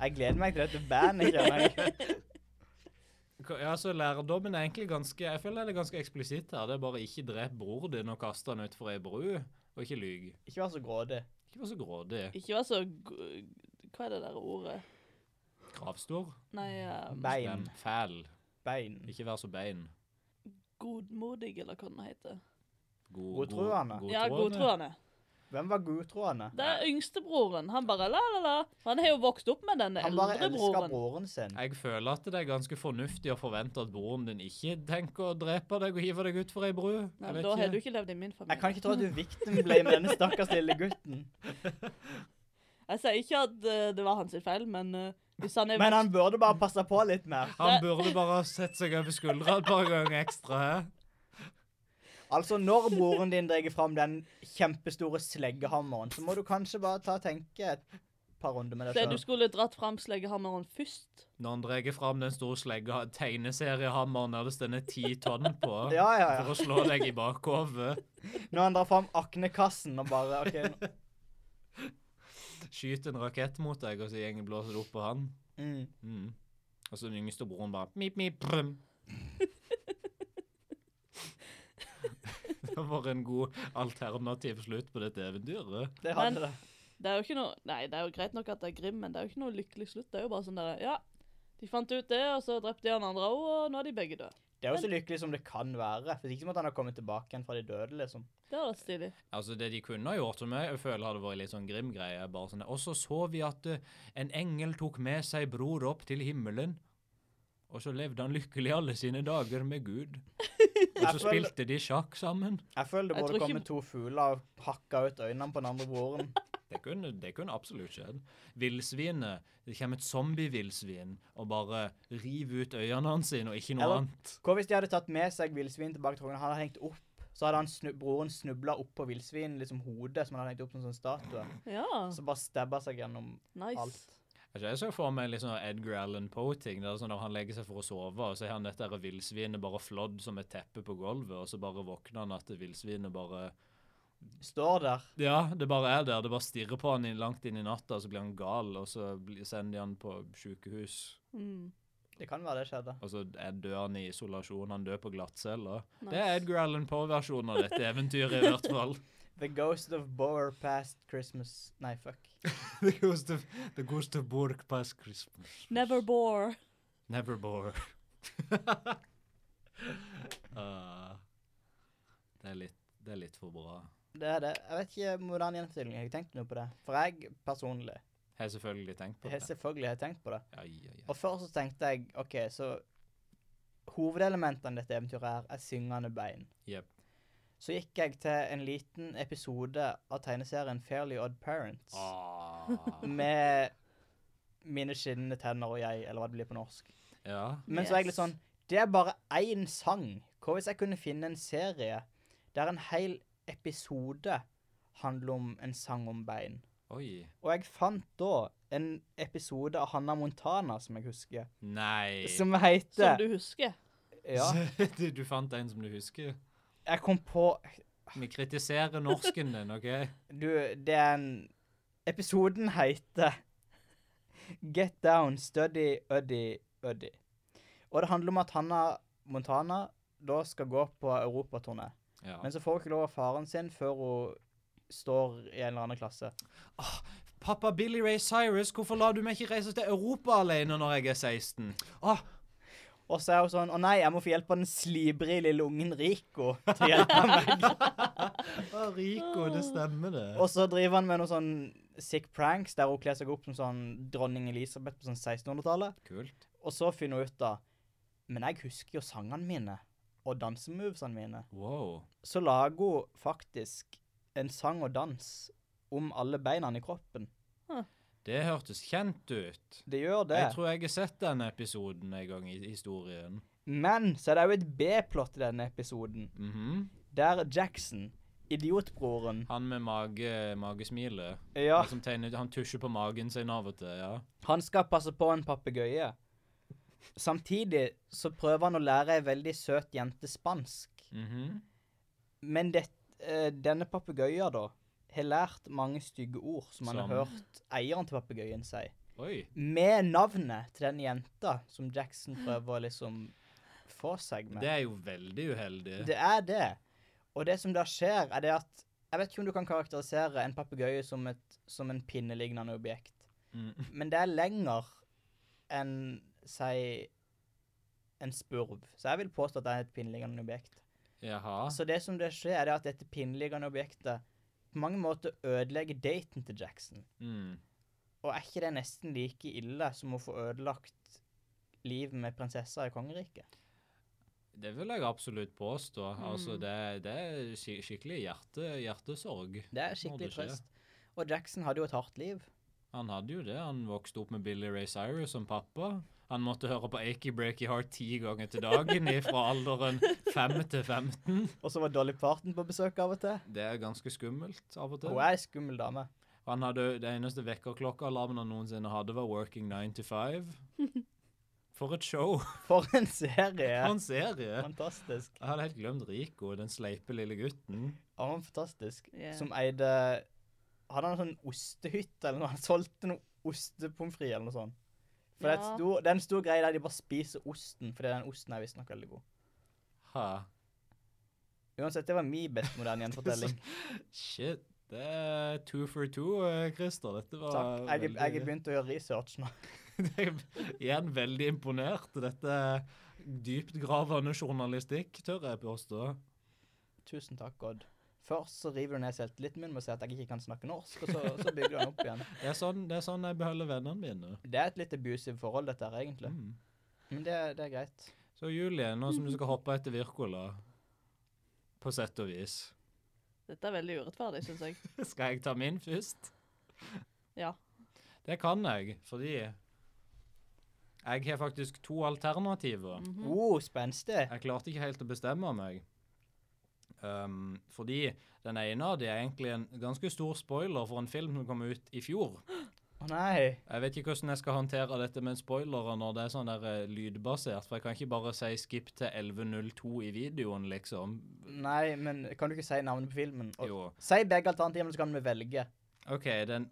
S3: Jeg gleder meg til dette bandet. Kjenner. jeg.
S2: K- Ja, så lærdommen er egentlig ganske Jeg føler det er ganske eksplisitt her. Det er bare ikke drep bror din og kast han utfor ei bru, og ikke lyg.
S3: Ikke vær så grådig.
S2: Ikke vær så grådig.
S1: Ikke vær så g- Hva er det der ordet?
S2: Kravstor.
S1: Nei, eh,
S3: Bein.
S2: Slem. Fæl.
S3: Bein.
S2: Ikke vær så bein.
S1: godmodig, eller hva den heter.
S2: God- god-
S3: Godtroende.
S1: Ja, godtroende.
S3: Hvem var godtroende?
S1: Det er yngstebroren. Han bare la, la, la. For han har jo vokst opp med den
S3: Han bare
S1: eldre
S3: elsker
S1: broren.
S3: broren sin.
S2: Jeg føler at det er ganske fornuftig å forvente at broren din ikke tenker å drepe deg og hive deg utfor ei bru.
S1: Nei, da har du ikke levd i min familie.
S3: Jeg kan ikke tro at du vikten ble med denne stakkars lille gutten.
S1: Jeg sier ikke at eh, det var hans feil, men eh, hvis han er
S3: Men han burde bare passe på litt mer.
S2: Han burde bare ha sett seg over skuldra et par ganger ekstra. hæ?
S3: Altså, når broren din drar fram den kjempestore sleggehammeren, så må du kanskje bare ta og tenke et par runder med
S1: Det du
S3: deg sjøl.
S1: skulle dratt fram sleggehammeren først
S2: Når han drar fram den store slegga, tegneseriehammeren der det stender ti tonn på,
S3: Ja, ja,
S2: for
S3: ja.
S2: å slå deg i bakhovet,
S3: Når han drar fram aknekassen og bare OK. nå-
S2: skyter en rakett mot deg, og så gjengen blåser det opp på han.
S3: Mm.
S2: Mm. Og så den yngste broren bare mip, mip, brum. det var en god alternativ slutt på dette eventyret.
S3: Det
S1: Men-
S3: hadde det.
S1: Det er jo ikke noe Nei, det er jo greit nok at det er grim, men det er jo ikke noe lykkelig slutt. Det er jo bare sånn derre Ja, de fant ut det, og så drepte de han andre òg, og nå er de begge døde.
S3: Det er jo så lykkelig som det kan være. For det er ikke som at han har kommet tilbake igjen fra de døde, liksom.
S1: Det hadde vært stilig.
S2: Altså Det de kunne ha gjort som jeg jeg føler hadde vært litt sånn grim greie. bare sånn, Og så så vi at eh, en engel tok med seg bror opp til himmelen. Og så levde han lykkelig alle sine dager med Gud. Og så
S3: Jeg føler-
S2: spilte de sjakk sammen.
S3: Jeg føler det
S1: Jeg
S3: burde
S1: tror ikke-
S3: komme to fugler og hakka ut øynene på den andre broren.
S2: Det kunne, det kunne absolutt skjedd. Villsvinet. Det kommer et zombie-villsvin og bare river ut øynene hans sine og ikke noe
S3: Eller-
S2: annet.
S3: Hva hvis de hadde tatt med seg villsvin tilbake til kongen? Han hadde hengt opp, så hadde han snu, broren snubla oppå villsvin, liksom hodet, som han hadde hengt opp som en sånn statue.
S1: Ja,
S3: Så bare stabba seg gjennom
S1: nice.
S3: alt.
S2: Altså, Jeg så for meg litt sånn Edgar Allan Poe-ting. der sånn Når han legger seg for å sove, og så har han dette her villsvinet bare flådd som et teppe på gulvet, og så bare våkner han at villsvinet bare
S3: Står der.
S2: Ja, det bare er der. Det bare stirrer på han i- langt inn i natta, og så blir han gal, og så blir- sender de han på sykehus.
S1: Mm,
S3: Det kan være det skjedde.
S2: Og så er- dør han i isolasjon. Han dør på glattcelle.
S1: nice.
S2: Det er Edgar Allan Poe-versjonen av dette eventyret, i hvert fall.
S3: The ghost of Boer past Christmas Nei, fuck.
S2: The ghost of, the ghost of Borg past Christmas.
S1: Never bore.
S2: Never bore. Ah, det, er litt, det er litt for bra.
S3: Det er det. Jeg vet ikke hvordan gjenfortelling. Jeg har ikke tenkt noe på det. For jeg personlig
S2: Jeg har selvfølgelig tenkt på
S3: jeg har
S2: det.
S3: selvfølgelig har tenkt på det.
S2: Ai, ai, ai.
S3: Og først så tenkte jeg OK, så hovedelementene i dette eventyret her er syngende bein.
S2: Jep.
S3: Så gikk jeg til en liten episode av tegneserien Fairly Odd Parents
S2: Ah.
S3: med mine skinnende tenner og jeg, eller hva det blir på norsk.
S2: Ja.
S3: Men så er jeg
S1: Yes.
S3: litt sånn Det er bare én sang. Hva hvis jeg kunne finne en serie der en hel episode handler om en sang om bein?
S2: Oi.
S3: Og jeg fant da en episode av Hannah Montana, som jeg husker,
S2: Nei.
S3: som
S1: Som
S3: heter
S1: du husker.
S3: Ja.
S2: du, du fant en som du husker.
S3: Jeg kom på
S2: Vi kritiserer norsken din, OK?
S3: Du, det er en Episoden heter Get Down, Study, Uddy, Uddy. Og det handler om at Hannah Montana da skal gå på europaturné.
S2: Ja.
S3: Men så får hun ikke lov av faren sin før hun står i en eller annen klasse.
S2: Pappa Billy Ray Cyrus, hvorfor lar du meg ikke reise til Europa alene når jeg er 16? Ah,
S3: Og så er hun sånn Å nei, jeg må få hjelp av den slibrige lille ungen Rico til å hjelpe meg.
S2: ah, Rico, det stemmer, det.
S3: Og så driver han med noen sånn sick pranks der hun kler seg opp som sånn dronning Elisabeth på sånn 1600-tallet.
S2: Kult.
S3: Og så finner hun ut da Men jeg husker jo sangene mine og dansemovesene mine.
S2: Wow.
S3: Så lager hun faktisk en sang og dans om alle beina i kroppen.
S2: Det hørtes kjent ut.
S3: Det gjør det.
S2: Jeg tror jeg har sett den episoden en gang i historien.
S3: Men så er det jo et B-plott i denne episoden,
S2: Mhm.
S3: der Jackson Idiotbroren.
S2: Han med mage, magesmilet.
S3: Ja,
S2: Han som tegner, han tusjer på magen sin av og til. ja.
S3: han skal passe på en papegøye. Samtidig så prøver han å lære ei veldig søt jente spansk.
S2: Mhm.
S3: Men det, eh, denne papegøyen, da, har lært mange stygge ord som han
S2: Som?
S3: har hørt eieren til papegøyen si.
S2: Oi.
S3: Med navnet til den jenta som Jackson prøver å liksom få seg med.
S2: Det er jo veldig uheldig.
S3: Det er det. Og det som da skjer, er det at Jeg vet ikke om du kan karakterisere en papegøye som, et- som en pinnelignende objekt,
S2: Mm.
S3: men det er lenger enn, si, en spurv. Så jeg vil påstå at det er et pinnelignende objekt.
S2: Jaha.
S3: Så Altså, det som det skjer, er det at dette pinneliggende objektet på mange måter ødelegger daten til Jackson.
S2: Mm.
S3: Og er ikke det nesten like ille som å få ødelagt livet med prinsesser i kongeriket?
S2: Det vil jeg absolutt påstå. Altså,
S1: Mm.
S2: det, det er skik- skikkelig hjerte, hjertesorg.
S3: Det er
S2: Må det
S3: skikkelig
S2: skje.
S3: trøst. Og Jackson hadde jo et hardt liv.
S2: Han hadde jo det. Han vokste opp med Billy Ray Cyrus som pappa. Han måtte høre på Achy Breaky Heart ti ganger til dagen fra alderen 5 til 15.
S3: Og så var Dolly Parton på besøk av og til.
S2: Det er ganske skummelt av og til.
S3: Hun er ei skummel dame.
S2: Han hadde Det eneste vekkerklokkealarmen han noensinne hadde, var Working 9 to 5. For et show!
S3: For en serie!
S2: For en serie!
S3: Fantastisk.
S2: Jeg hadde helt glemt Rico, den sleipe lille gutten.
S3: Han var fantastisk.
S1: Ja.
S3: Som eide Hadde han en sånn ostehytte eller noe? Han solgte noe ostepommes frites eller noe sånt. For det, er et
S1: Ja.
S3: stor, det er en stor greie der de bare spiser osten, fordi den osten er visstnok veldig god.
S2: Ha.
S3: Uansett, det var min best moderne gjenfortelling.
S2: Shit. Det er two for two, eh, Christer. Dette var
S3: Takk. Jeg, er- jeg
S2: veldig-
S3: har begynt å gjøre research nå.
S2: Jeg er igjen veldig imponert. Dette er dyptgravende journalistikk, tør jeg påstå.
S3: Tusen takk, Odd. Først så river du ned selvtilliten min med å si at jeg ikke kan snakke norsk, og så, så bygger du den opp igjen.
S2: Det er sånn, det er sånn jeg beholder vennene mine.
S3: Det er et litt abusive forhold, dette her, egentlig.
S2: Mm.
S3: Men det, det er greit.
S2: Så Julie, nå som du skal hoppe etter Virkola, på sett og vis,
S1: Dette er veldig urettferdig, syns jeg.
S2: skal jeg ta min først?
S1: Ja.
S2: Det kan jeg, fordi jeg har faktisk to alternativer.
S1: Mhm.
S3: Oh, spenstig.
S2: Jeg klarte ikke helt å bestemme meg. Um, fordi den ene av de er egentlig en ganske stor spoiler for en film som kom ut i fjor.
S3: Å nei.
S2: Jeg vet ikke hvordan jeg skal håndtere dette med spoilere når det er sånn der eh, lydbasert, for jeg kan ikke bare si skip til 11.02 i videoen, liksom.
S3: Nei, men kan du ikke si navnet på filmen? Og,
S2: Jo.
S3: si begge alternativene, så kan vi velge.
S2: OK, den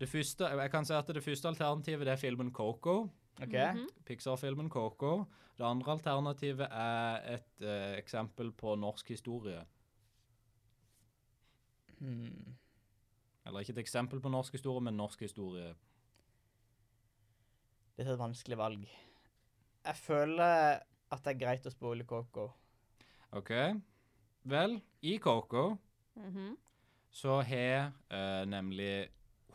S2: Det første Jeg kan si at det første alternativet det er filmen Coco.
S3: OK?
S2: Mhm.
S1: Mhm.
S2: Pixar-filmen Coco. Det andre alternativet er et eh, eksempel på norsk historie.
S3: Hmm.
S2: Eller ikke et eksempel på norsk historie, men norsk historie.
S3: Dette er et vanskelig valg. Jeg føler at det er greit å spole Coco.
S2: OK? Vel, i Coco
S1: Mhm.
S2: så har eh, nemlig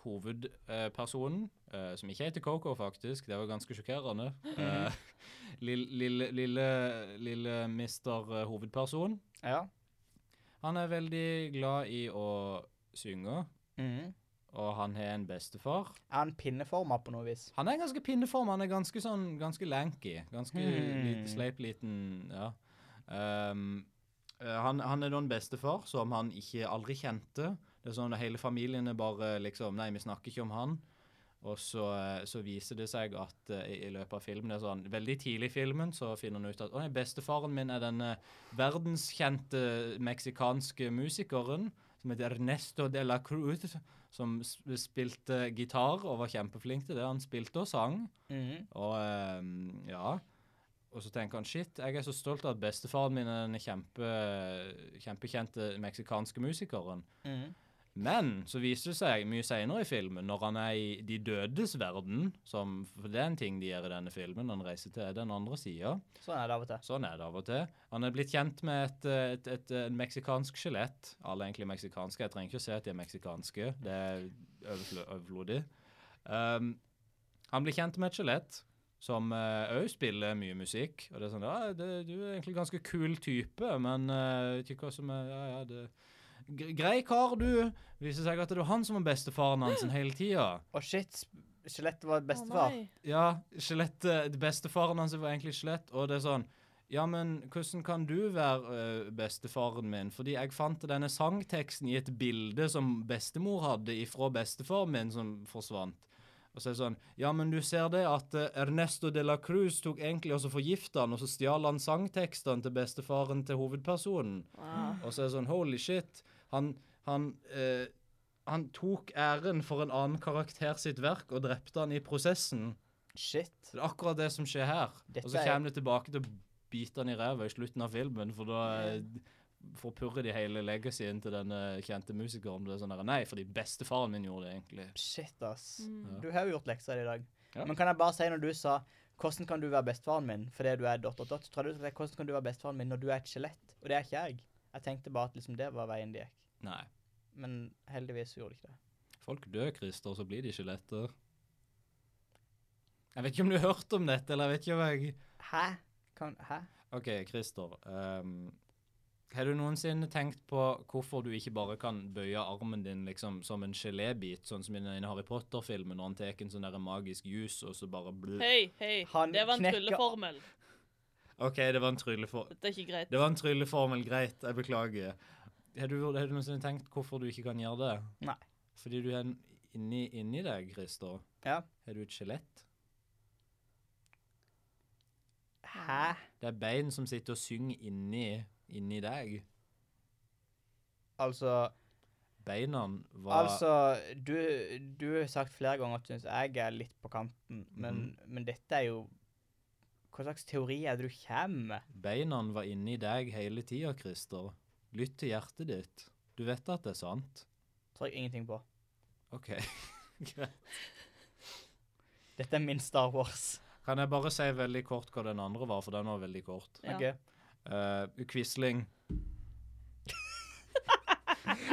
S2: hovedpersonen, eh, som ikke heter Coco faktisk, det var ganske sjokkerende, eh, lille, lille, lille, lille mister eh, hovedperson,
S3: Ja.
S2: han er veldig glad i å synge,
S3: Mhm.
S2: og han har en bestefar.
S3: Er han pinneforma på noe vis?
S2: Han er ganske pinneform, han er ganske sånn, ganske lanky, ganske
S3: Hmm.
S2: lite, sleip liten, ja. Ehm, eh, han, han er da en bestefar som han ikke aldri kjente. Det er sånn at hele familien er bare liksom, nei, vi snakker ikke om han. Og så, eh, så viser det seg at eh, i, i løpet av filmen, det er sånn, veldig tidlig i filmen, så finner han ut at, å nei, bestefaren min er denne verdenskjente meksikanske musikeren, som heter Ernesto de la Cruz, som s- spilte gitar og var kjempeflink til det. Han spilte og sang.
S3: Mhm.
S2: Og ehm, ja. Og så tenker han shit, jeg er så stolt av at bestefaren min er den kjempe, kjempekjente meksikanske musikeren.
S3: Mhm.
S2: Men så viser det seg mye senere i filmen, når han er i de dødes verden, som, for det er en ting de gjør i denne filmen, han reiser til den andre sida.
S3: Sånn er det av og til.
S2: Sånn er det av og til. Han er blitt kjent med et, eh, et, et, eh, meksikansk skjelett. Alle er egentlig meksikanske. Jeg trenger ikke å si at de er meksikanske. Det er overflø- overflødig. Um, han blir kjent med et skjelett som òg spiller mye musikk. Og det er sånn Ja, det, du er egentlig en ganske kul type, men eh, vet ikke hva som er Ja, ja, det Gre- Grei kar, du. Viser seg at det var han som var bestefaren hans hele tida.
S3: Å, shit. sp- Skjelettet var
S1: Å,
S3: bestefar.
S1: nei.
S2: eh, Ja, skjelettet Bestefaren hans var egentlig skjelett, og det er sånn Ja, men hvordan kan du være eh, bestefaren min? Fordi jeg fant denne sangteksten i et bilde som bestemor hadde ifra bestefaren min som forsvant. Og så er det sånn Ja, men du ser det at eh, Ernesto de la Cruz tok egentlig også forgifta han, og så stjal han sangtekstene til bestefaren til hovedpersonen.
S1: Ah.
S2: Og så er det sånn Holy shit. Han Han eh, han tok æren for en annen karakter sitt verk og drepte han i prosessen.
S3: Shit.
S2: Så Det er akkurat det som skjer her.
S3: Dette
S2: og så
S3: er-
S2: kommer det tilbake til å bite han i ræva i slutten av filmen, for da eh, forpurrer de hele legacyen til denne kjente musikeren. Det er sånn der, Nei, fordi bestefaren min gjorde det, egentlig.
S3: Shit, ass.
S1: Mm.
S3: Du har jo gjort lekser i dag.
S2: Ja.
S3: Men kan jeg bare si når du sa 'Hvordan kan du være bestefaren min fordi du er dot, dot, dot', så trodde du at 'Hvordan kan du være bestefaren min når du er et skjelett'? Og det er ikke jeg. Jeg tenkte bare at liksom det var veien det gikk.
S2: Nei.
S3: Men heldigvis så gjorde det ikke det.
S2: Folk dør, Christer, og så blir de skjeletter. Jeg vet ikke om du har hørt om dette, eller jeg vet ikke om jeg
S3: Hæ? Kan, hæ?
S2: OK, Christer. ehm, har du noensinne tenkt på hvorfor du ikke bare kan bøye armen din liksom som en gelébit, sånn som i den ene Harry Potter-filmen, når han tar en sånn der magisk jus, og så bare bluh.
S1: Hei, hei.
S3: Han
S1: det var en
S3: knekker-
S1: trylleformel.
S2: OK, det var en trylleform.
S1: Dette er ikke greit.
S2: Det var en trylleformel, greit. Jeg beklager. Har du, har du noensinne tenkt hvorfor du ikke kan gjøre det?
S3: Nei.
S2: Fordi du er en- inni, inni deg, Christer.
S3: Ja.
S2: Har du et skjelett?
S3: Hæ?
S2: Det er bein som sitter og synger inni, inni deg.
S3: Altså
S2: Beina var
S3: Altså, du, du har sagt flere ganger at du syns jeg er litt på kanten, men, men dette er jo Hva slags teori er det du kommer med?
S2: Beina var inni deg hele tida, Christer. Lytt til hjertet ditt. Du vet at det er sant?
S3: Tror jeg ingenting på.
S2: OK. Greit.
S3: Dette er min Star Wars.
S2: kan jeg bare si veldig kort hva den andre var, for den var veldig kort.
S1: Ja.
S3: Ok.
S2: Uh, Quisling.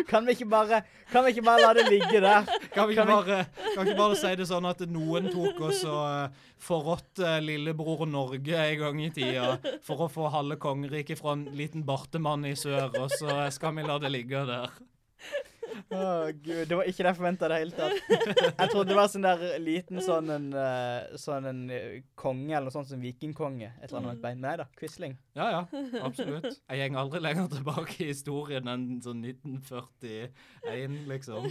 S3: Kan vi ikke bare Kan vi ikke bare la det ligge der?
S2: Kan vi ikke bare, kan vi ikke bare si det sånn at noen tok oss og eh, forrådte lillebror Norge en gang i tida for å få halve kongeriket fra en liten bartemann i sør, og så skal vi la det ligge der.
S3: Å, gud. Det var ikke det jeg forventa i det hele tatt. Jeg trodde det var sånn der liten sånn en eh, Sånn en eh, konge eller noe sånt som vikingkonge. Et eller annet med et bein. Men nei da. Quisling.
S2: Ja, ja, absolutt. Jeg går aldri lenger tilbake i historien enn sånn 1941, liksom.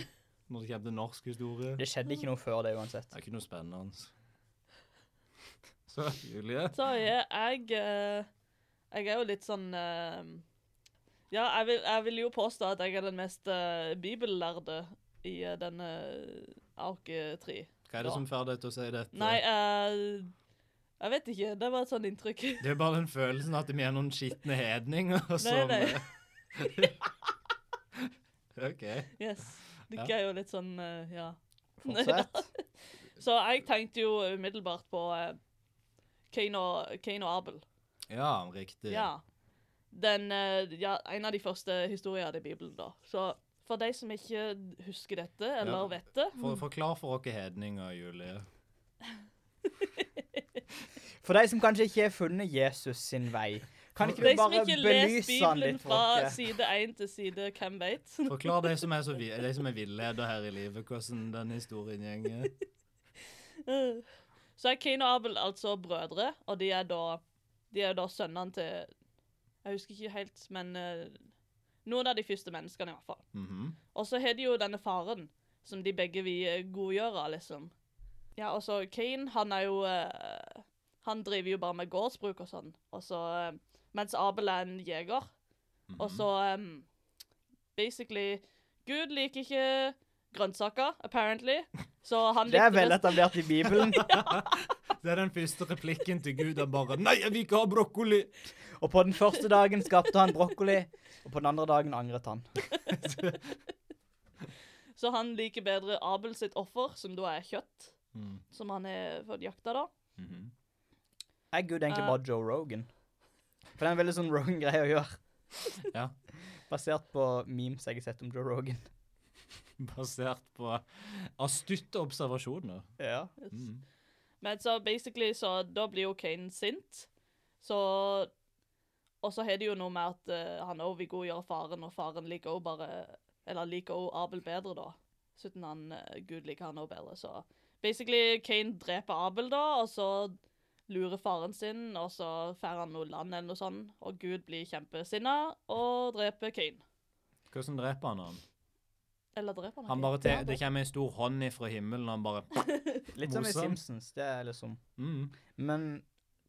S2: Når det kommer til norsk historie.
S3: Det skjedde ikke noe før det uansett.
S2: Det er ikke noe spennende. Så, Julie.
S1: Så er jeg eh, Jeg er jo litt sånn eh, Ja, jeg vil, jeg vil jo påstå at jeg er den mest eh, bibellærde i eh, denne Arke 3.
S2: Hva er det som får deg til å si dette?
S1: Nei, eh, jeg vet ikke. Det var et sånt inntrykk.
S2: Det er bare den følelsen at vi er noen skitne hedninger som
S1: nei.
S2: OK.
S1: Yes.
S2: Ja.
S1: Dere er jo litt sånn eh, Ja.
S3: Fortsett.
S1: Så jeg tenkte jo umiddelbart på eh, Cain og, Cain og Abel.
S2: Ja, riktig.
S1: Ja. Den, eh, ja. En av de første historiene i Bibelen, da. Så for de som ikke husker dette, eller
S2: Ja.
S1: vet det
S2: For, forklar for oss hedninger, Julie.
S3: For de som kanskje ikke har funnet Jesus sin vei, kan ikke
S1: De
S3: du
S1: som
S3: bare
S1: ikke leser
S3: belyse han
S1: Bibelen
S3: litt?
S1: fra
S3: Folke?
S1: side 1 til side hvem veit.
S2: Forklar de som er, så vi, de som er villeder her i livet, hvordan den historien gjenger.
S1: Så er Cain og Abel altså brødre, og de er da, de er da sønnene til Jeg husker ikke helt, men eh, noen av de første menneskene, i hvert fall.
S2: Mhm.
S1: Og så har de jo denne faren, som de begge vil godgjøre, liksom. Ja, og så Kane, han er jo eh, Han driver jo bare med gårdsbruk og sånn. Og så eh, Mens Abel er en jeger. Og
S3: Mhm.
S1: så em, Basically Gud liker ikke grønnsaker, apparently. Så han
S3: Det er
S1: likte
S3: vel etablert i Bibelen.
S2: Det er den første replikken til Gud. Han bare 'Nei, jeg vil ikke ha brokkoli!'
S3: Og på den første dagen skapte han brokkoli, og på den andre dagen angret han.
S1: Så han liker bedre Abel sitt offer, som da er kjøtt.
S2: Mm.
S1: Som han er fått jakta, da.
S2: Mhm.
S3: Er Gud egentlig
S1: Ja.
S3: bare Joe Rogan? For det er en veldig sånn Rogan-greie å gjøre.
S2: Ja.
S3: Basert på memes jeg har sett om Joe Rogan.
S2: Basert på astutte observasjoner.
S3: Ja.
S2: Mm.
S1: Men så basically, så da blir jo Kane sint. Så Og så har det jo noe med at eh, han òg vil godgjøre faren, og faren liker òg bare Eller liker òg Abel bedre, da. Siden han eh, Gud liker han òg bedre, så Basically, Kane dreper Abel, da, og så lurer faren sin, og så drar han noe land eller noe sånt, og Gud blir kjempesinna og dreper Kane.
S2: Hvordan dreper han han?
S1: Eller dreper han
S2: han
S1: Kane?
S2: bare te
S1: Ja,
S2: det kommer en stor hånd ifra himmelen, og han bare
S3: Litt som i
S2: Morsom.
S3: Simpsons. Det er liksom
S2: mm.
S3: Men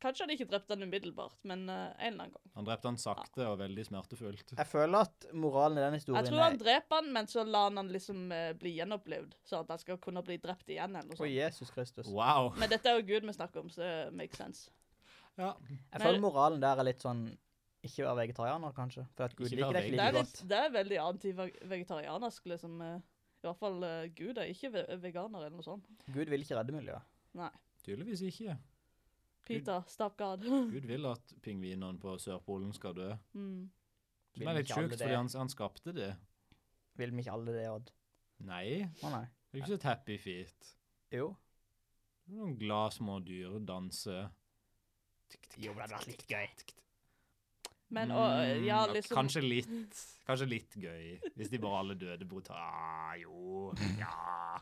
S1: Kanskje han ikke drepte han umiddelbart, men eh, en eller annen gang.
S2: Han drepte han sakte og veldig smertefullt.
S3: jeg føler at moralen i den historien
S1: Jeg tror han
S3: er
S1: dreper han, men så lar han han liksom eh, bli gjenopplevd, så at han skal kunne bli drept igjen eller noe
S3: Å,
S1: sånt.
S3: Jesus Kristus.
S2: Wow.
S1: Men dette er jo Gud vi snakker om, så det makes sense.
S2: Ja.
S3: Jeg
S1: Men-
S3: føler moralen der er litt sånn Ikke være vegetarianer, kanskje. For at Gud
S2: Ikke
S3: liker
S2: være
S3: deg ikke
S1: Det
S3: like
S1: er,
S3: godt.
S1: litt, det er veldig anti-vegetarianersk, liksom. eh, I hvert fall eh, Gud er ikke ve veganer eller noe sånt.
S3: Gud vil ikke redde miljøet.
S2: Tydeligvis ikke.
S1: Peter, stop God.
S2: Gud vil at pingvinene på Sørpolen skal dø.
S1: Mm.
S2: Som er
S3: vi
S2: litt
S3: ikke alle
S2: sjukt,
S3: det?
S2: fordi han, han skapte det.
S3: Vil vi ikke alle det, Odd?
S2: Nei,
S3: Å nei.
S2: det er ikke et happy feet.
S3: Jo.
S2: Det er Noen glade små dyr danser.
S3: Jo, men det hadde vært litt gøy.
S1: Men og, eh, ja,
S2: Mm,
S1: liksom
S2: Kanskje litt, kanskje litt gøy, hvis de bare alle døde brutalt. Ah, jo, ja.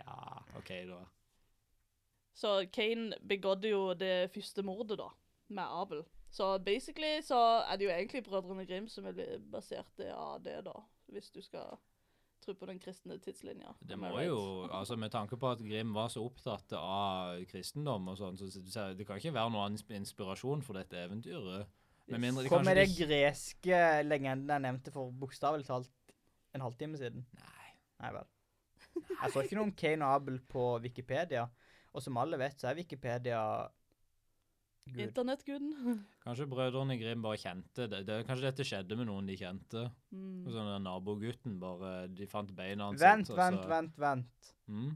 S2: Ja, OK, da.
S1: Så Kane begådde jo det første mordet, da, med Abel. Så basically så er det jo egentlig Brødrene Grim som er bli- basert av det, da. Hvis du skal tro på den kristne tidslinja.
S2: Det
S1: Am I
S2: må
S1: right?
S2: jo, altså Med tanke på at Grim var så opptatt av kristendom, og sånn, så så det kan ikke være noen annen inspirasjon for dette eventyret. Med mindre de
S3: Hvor med
S2: kanskje
S3: det greske legenden jeg nevnte for bokstavelig talt en halvtime siden?
S2: Nei.
S3: Nei vel. Jeg så ikke noe om Cain og Abel på Wikipedia, og som alle vet, så er Wikipedia Gud.
S1: Internettguden.
S2: Kanskje brødrene Grim bare kjente det. det. Kanskje dette skjedde med noen de kjente.
S1: Mm.
S2: Sånn den Nabogutten bare De fant beina hans. og
S3: Vent,
S2: så-
S3: vent, vent, vent.
S2: Mm?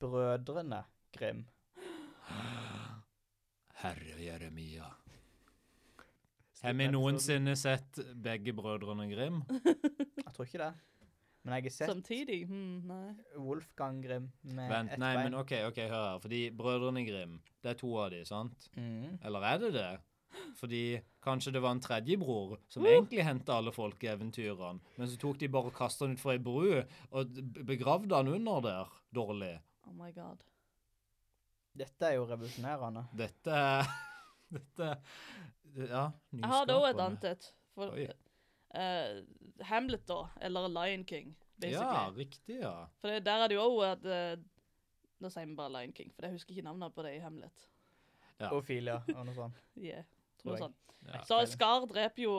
S3: Brødrene Grim.
S2: Herre Jeremia. Har vi noensinne sett begge brødrene Grim?
S3: Jeg tror ikke det. Men jeg har sett
S1: Samtidig? Hmm, nei.
S3: Wolfgang Grim med
S2: Vent,
S3: ett
S2: nei,
S3: bein.
S2: men OK, ok, hør her. Fordi brødrene Grim, det er to av de, sant?
S3: Mhm.
S2: Eller er det det? Fordi kanskje det var en tredjebror som egentlig henta alle folkeeventyrene, men så tok de bare og kasta han utfor ei bru og d- begravde han under der dårlig.
S1: Oh my god.
S3: Dette er jo revolusjonerende.
S2: Dette er- Dette det- Ja, nyskapende.
S1: Jeg har da et annet et. For
S2: Oi.
S1: eh, Hamlet, da. Eller Lion King, basically.
S2: Ja, riktig, ja.
S1: For det, der er det jo òg at eh, Nå sier vi bare Lion King, for jeg husker ikke navnet på det i Hamlet.
S2: Ja.
S3: Og Filia og noe sånt.
S1: Yeah.
S3: Tror
S1: Noe
S3: jeg.
S1: sånt.
S2: ja.
S1: Så Skar dreper jo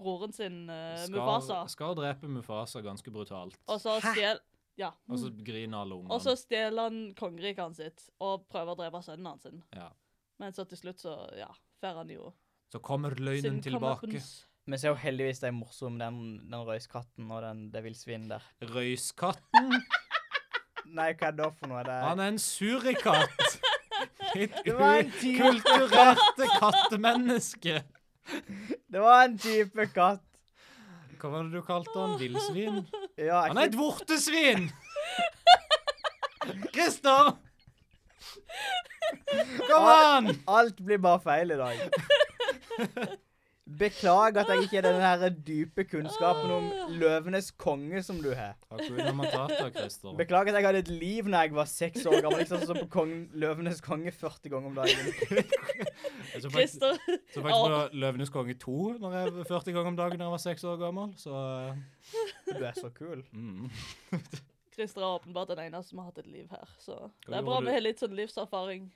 S1: broren sin, eh, Mufasa.
S2: Skar, Skar dreper Mufasa ganske brutalt.
S1: Og så stjel... Ja.
S2: Og så griner alle
S1: Mm. Og så
S2: ungene.
S1: stjeler han kongeriket hans sitt og prøver å drepe sønnen hans. sin.
S2: Ja.
S1: Men så til slutt så, ja, får han jo
S2: Så kommer løgnen
S1: sin
S2: tilbake.
S1: comeuppance.
S3: Men så er jo heldigvis de morsomme, den, den røyskatten og den, det villsvinet der.
S2: Røyskatten,
S3: Nei, hva er det for noe? Det
S2: han er en surikatt! Ditt
S3: Det var en tyv.
S2: ukulturerte kattemenneske!
S3: Det var en type katt.
S2: Hva var det du kalte han? Villsvin?
S3: Ja, jeg
S2: Han er et vortesvin! Christer! Kom an!
S3: Alt blir bare feil i dag. Beklager at jeg ikke har den her dype kunnskapen om løvenes konge som du har.
S2: Hakuna Matata, Christer.
S3: Beklager at jeg hadde et liv når jeg var seks år gammel. Ikke sånn som på kongen, løvenes konge 40 ganger om dagen.
S2: Jeg så faktisk,
S1: Christer
S2: så faktisk på Løvenes konge 2 når jeg, 40 ganger om dagen da jeg var 6 år gammel, så eh,
S3: Du er så kul.
S2: mm.
S1: Christer er åpenbart den eneste som har hatt et liv her, så det er
S2: gjorde
S1: bra
S2: du?
S1: vi har litt sånn livserfaring.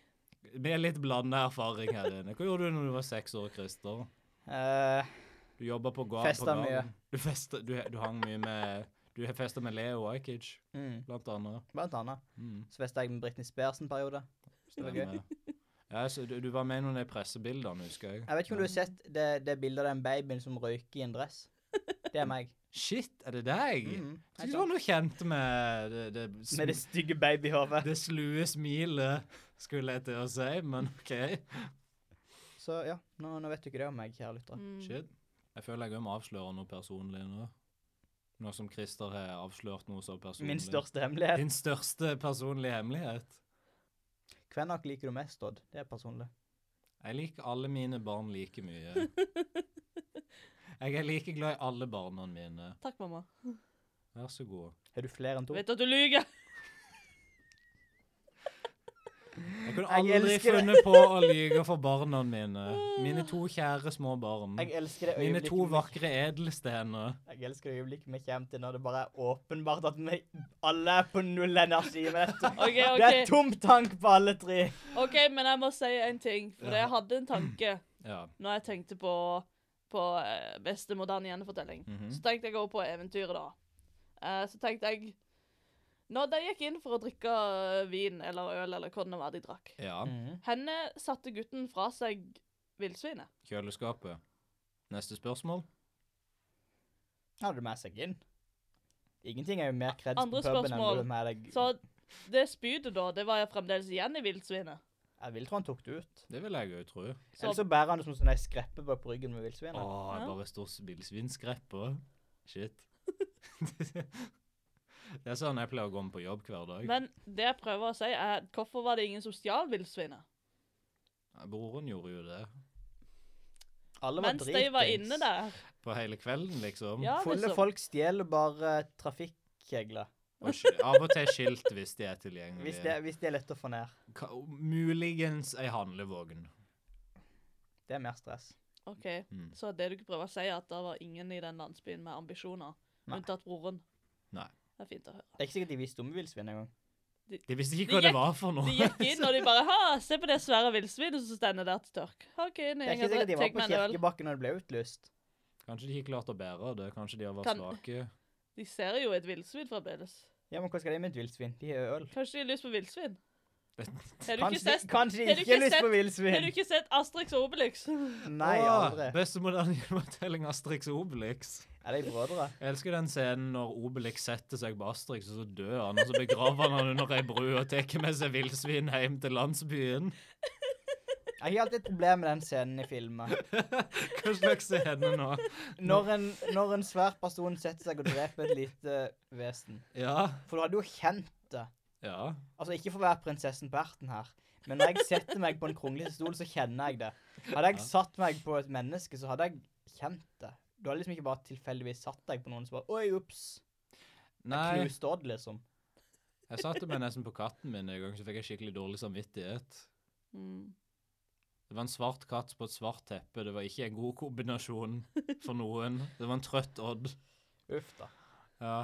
S2: Med litt blanda erfaring her inne. Hva gjorde du når du var seks år, Christer?
S3: Eh,
S2: Du jobba på gård.
S3: Festa mye.
S2: Du, festa, du, du hang mye med Du festa med Leo Ajkic,
S3: mm,
S2: blant annet.
S3: blant annet.
S2: Mm,
S3: Så festa jeg med Britney Spears en periode. Det var gøy.
S2: stemmer. Ja, så du, du var med i noen av de pressebildene, husker jeg.
S3: Jeg vet ikke om du har sett det, det bildet av den babyen som røyker i en dress. Det er meg.
S2: Shit, er det deg?
S1: Mm.
S3: Mhm.
S2: Jeg synes det var noe kjent med det, det, sm-
S3: Med det stygge babyhodet.
S2: det slue smilet, skulle jeg til å si, men OK.
S3: Så ja, nå, nå vet du ikke det om meg, kjære lyttere.
S1: Mm.
S2: Shit. Jeg føler jeg òg må avsløre noe personlig nå. Nå som Christer har avslørt noe så personlig.
S3: Min største hemmelighet.
S2: Din største personlige hemmelighet. Mm.
S3: Hvem av dere liker du mest, Odd? Det er personlig.
S2: Jeg liker alle mine barn like mye. Jeg er like glad i alle barna mine.
S1: Takk, mamma.
S2: Vær så god.
S3: Har du flere enn to?
S1: Vet at du lyver!
S2: Jeg kunne
S3: Jeg
S2: aldri
S3: elsker det.
S2: funnet på å lyge for barna mine. Mine to kjære små barn.
S3: Jeg elsker det
S2: Mine to
S3: øyeblikket vi-
S2: vakre edelstener.
S3: Jeg elsker det øyeblikket vi kommer til når det bare er åpenbart at vi alle er på null energi. Men det, er-
S1: OK,
S3: det
S1: ok,
S3: er tom tank på alle tre.
S1: ok, men jeg må si en ting. For
S2: Ja.
S1: jeg hadde en tanke
S2: Ja.
S1: når jeg tenkte på, på eh, beste moderne gjenfortelling.
S2: Mhm.
S1: Så tenkte jeg også på eventyret, da. Eh, så tenkte jeg Når de gikk inn for å drikke eh, vin eller øl eller hva det nå var de drakk
S2: ja.
S3: Mm.
S1: Henne satte gutten fra seg villsvinet.
S2: Kjøleskapet. Neste spørsmål.
S3: Hadde du med seg inn? Ingenting er jo mer kreds
S1: Andre
S3: på puben enn
S1: spørsmål.
S3: du har med deg.
S1: Så det spydet, da, det var fremdeles igjen i villsvinet.
S3: Jeg vil tro han tok det ut.
S2: Det vil jeg jo tro.
S1: Så
S3: Eller så bærer han det som sånn ei skreppe bak på ryggen med
S2: Å,
S3: villsvinet.
S2: jeg
S1: Ja.
S2: Ah, bare står villsvinskreppe. Shit. det er sånn jeg pleier å gå med på jobb hver dag.
S1: Men det jeg prøver å si, er hvorfor var det ingen som stjal villsvinet?
S2: Ja, Broren gjorde jo det.
S3: Alle var
S1: Mens de
S3: dritings.
S1: var inne der.
S2: På hele kvelden, liksom.
S1: Ja,
S3: Fulle
S1: liksom.
S3: folk stjeler bare trafikkjegler.
S2: Og sk- av og til skilt, hvis de er tilgjengelige.
S3: Hvis det, hvis det er lett å få ned.
S2: Ka muligens ei handlevogn.
S3: Det er mer stress.
S1: OK,
S2: Mm.
S1: så det du ikke prøver å si, er at det var ingen i den landsbyen med ambisjoner,
S3: Nei.
S1: unntatt broren.
S2: Nei.
S1: Det er fint å høre.
S3: Det er ikke sikkert de visste om villsvin engang.
S2: De visste ikke
S1: De
S2: hva det
S1: gikk-
S2: var for noe.
S1: De gikk inn, og de bare Ha, se på det svære villsvinet som stender der til tørk. OK, nå
S3: Det er ikke
S1: går jeg
S3: sikkert de
S1: og tar
S3: var på
S1: meg en øl.
S3: kirkebakken når det ble utlyst.
S2: Kanskje de ikke klarte å bære det. Kanskje de har vært
S1: Kan-
S2: svake.
S1: De ser jo et villsvin fremdeles.
S3: Ja, men hva skal de med et villsvin? De har øl.
S1: Kanskje de har lyst på villsvin? Har du ikke
S3: Kanskje,
S1: sett
S3: kanskje de
S1: har du
S3: ikke
S1: ikke
S3: har lyst på
S1: sett- Har du
S3: villsvin?
S1: ikke sett Astrix og Obelix?
S3: Nei,
S2: Åh,
S3: aldri.
S2: Beste moderne gjenfortelling Astrix og Obelix.
S3: Er de brødre?
S2: Jeg elsker den scenen når Obelix setter seg på Astrix, og så dør han, og så begraver han han under ei bru og tar med seg villsvin hjem til landsbyen.
S3: Jeg har alltid et problem med den scenen i filmer.
S2: Hva slags scene nå?
S3: Når en, når en svær person setter seg og dreper et lite vesen.
S2: Ja.
S3: For du hadde jo kjent det.
S2: Ja.
S3: Altså, ikke for å være prinsessen på erten her, men når jeg setter meg på en kronglete stol, så kjenner jeg det. Hadde jeg satt meg på et menneske, så hadde jeg kjent det. Du hadde liksom ikke bare tilfeldigvis satt deg på noen som bare Oi, ups.
S2: Nei.
S3: Knust odd, liksom.
S2: Jeg satte meg nesten på katten min en gang, så fikk jeg skikkelig dårlig samvittighet.
S1: Mm.
S2: Det var en svart katt på et svart teppe. Det var ikke en god kombinasjon for noen. Det var en trøtt Odd.
S3: Uff, da.
S2: Ja.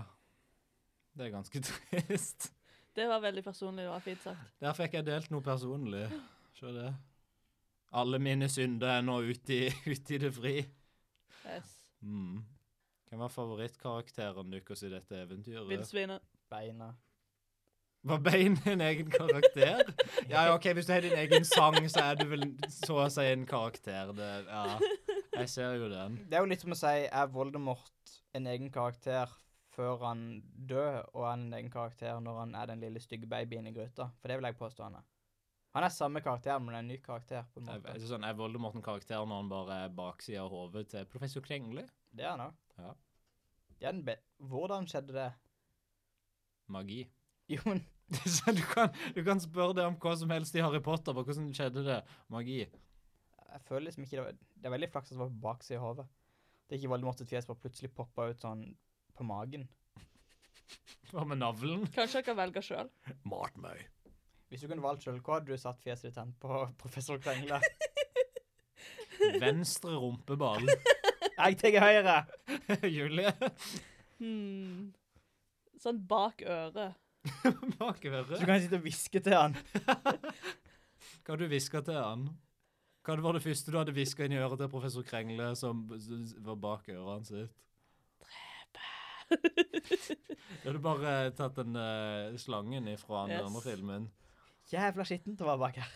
S2: Det er ganske trist.
S1: Det var veldig personlig. Det var fint sagt.
S2: Der fikk jeg delt noe personlig. Se det. Alle mine synder er nå ute i, ute i det fri.
S1: Yes.
S2: Mm. Hvem var favorittkarakteren deres i dette eventyret?
S1: Villsvinet.
S3: Beina.
S2: Var Bane en egen karakter? Ja, ja, ok, Hvis du har din egen sang, så er du vel så å si en karakter. Det, ja, Jeg ser jo den.
S3: Det er jo litt som å si er Voldemort en egen karakter før han dør, og er han en egen karakter når han er den lille stygge babyen i gryta? For det vil jeg påstå han er. Han er samme karakter, men en ny karakter. på en
S2: Jeg,
S3: måte.
S2: jeg, sånn, er Voldemort en karakter når han bare er baksida av hodet til professor Krengle?
S3: Det er han òg.
S2: Ja.
S3: Hvordan skjedde det?
S2: Magi.
S3: Jo, men
S2: så du kan, du kan spørre det om hva som helst i Harry Potter, bare hvordan skjedde det? Magi.
S3: jeg føler liksom ikke det var Det er veldig flaks at det var på baksida av hodet. Det er ikke Voldemort sitt fjes bare plutselig poppa ut sånn på magen.
S2: Hva med navlen?
S1: Kanskje jeg kan velge sjøl.
S4: Mat meg.
S3: Hvis du kunne valgt sjøl, hva hadde du satt fjeset ditt hen på professor Krengle?
S2: Venstre rumpeball.
S3: Jeg tar høyre!
S2: Julie.
S1: Hmm. Sånn bak øret.
S2: Bak
S3: Så
S2: øret.
S3: du kan sitte og hviske til han.
S2: Hva du hviska til han? Hva var det første du hadde hviska inn i øret til professor Krengle, som s- var bak øret hans sitt? Drepe. Du hadde bare tatt den eh, slangen ifra den
S1: Yes.
S2: andre filmen.
S3: Jævla skittent å være bak her.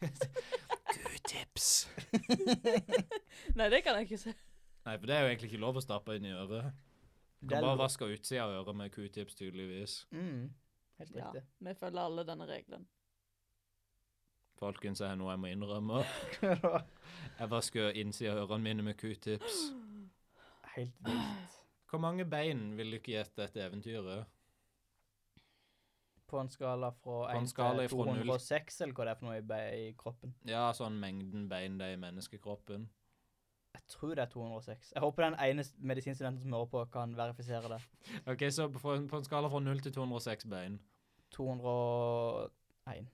S4: Du tips.
S1: Nei, det kan jeg ikke se.
S2: Nei, for det er jo egentlig ikke lov å stappe inn i øret. Du
S3: Det er
S2: kan bare
S3: lov.
S2: vaske utsida av øret med q-tips, tydeligvis.
S3: Mm. Helt
S1: Ja,
S3: riktig.
S1: vi følger alle denne regelen.
S2: Folkens, jeg har noe jeg må innrømme. Jeg vasker innsida av ørene mine med q-tips.
S3: Helt vilt.
S2: Hvor mange bein vil du ikke gjette dette eventyret?
S3: På en skala fra
S2: en
S3: 1
S2: skala
S3: til
S2: ifra null.
S3: 206, eller hva det er for noe i, be- i kroppen.
S2: Ja, sånn mengden bein det er i menneskekroppen.
S3: Jeg tror det er 206. Jeg håper den ene s- medisinstudenten som hører på, kan verifisere det.
S2: OK, så på, på en skala fra 0 til 206 bein.
S3: 201.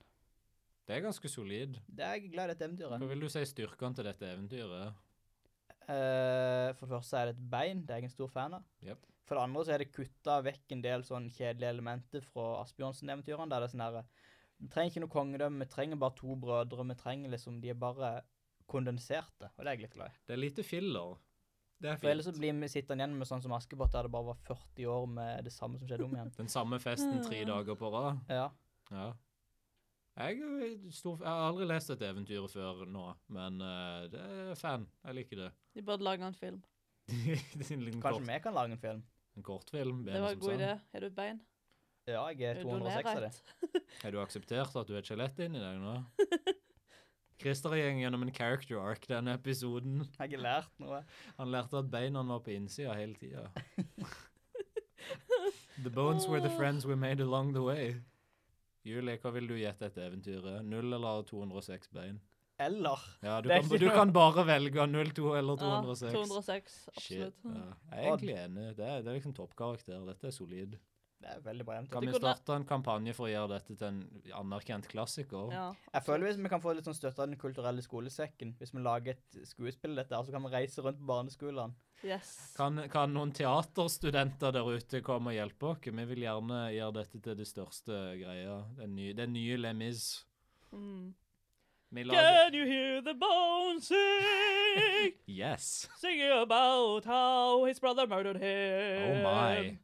S2: Det er ganske solid.
S3: Det er jeg glad i dette eventyret.
S2: Hva vil du si styrkene til dette eventyret?
S3: Eh, for det første er det et bein, det er jeg en stor fan av.
S2: Jep.
S3: For det andre så er det kutta vekk en del sånn kjedelige elementer fra Asbjørnsen-eventyrene. Der det er sånn herre Vi trenger ikke noe kongedømme, vi trenger bare to brødre. Vi trenger liksom De er bare kondenserte, og det er jeg litt glad i.
S2: Det er lite filler. Det er
S3: For ellers så
S2: fint.
S3: blir vi sittende igjen med sånn som Askepott, der det bare var 40 år med det samme som skjedde om igjen.
S2: Den samme
S3: Mm.
S2: festen tre dager på rad.
S3: Ja.
S2: Ja. Jeg, er stor, jeg har aldri lest dette eventyret før nå, men eh, det er fan. Jeg liker det.
S1: De burde lage en film.
S2: det er en liten
S3: Kanskje
S2: kort,
S3: vi kan lage en film?
S2: en kortfilm.
S1: Det var en god idé. Har du et bein?
S3: Ja, jeg er 206 av det.
S2: Har du akseptert at du er et skjelett inni deg nå? Christer gikk gjennom en character arc denne episoden.
S3: Jeg har ikke lært noe.
S2: Han lærte at beina var på innsida hele tida. the bones were the friends we made along the way. Julie, hva vil du gjette etter eventyret? Null eller 206 bein?
S3: Eller
S2: Ja, du
S3: Det er
S2: kan,
S3: ikke
S2: du
S3: noe-
S2: kan bare velge 02 eller 206.
S1: Ja, 206,
S2: Shit.
S1: absolutt.
S2: Ja. Jeg er egentlig enig. Det er, det er liksom toppkarakter. Dette er solid.
S3: Det er veldig bra eventyr.
S2: Kan vi
S1: kunne-
S2: starte en kampanje for å gjøre dette til en anerkjent klassiker?
S1: Hmm. Ja.
S3: Jeg føler hvis vi kan få litt sånn støtte av den kulturelle skolesekken, hvis vi lager et skuespill dette, her, så kan vi reise rundt på barneskolene.
S1: Yes.
S2: Kan, kan noen teaterstudenter der ute komme og hjelpe oss? Vi vil gjerne gjøre dette til det største greia. Den nye, den nye Les Mis.
S1: Mm.
S2: Vi lager
S1: Can you hear the bones sing?
S2: Yes!
S1: Singing about how his brother murdered
S2: Oh
S1: him.
S2: my.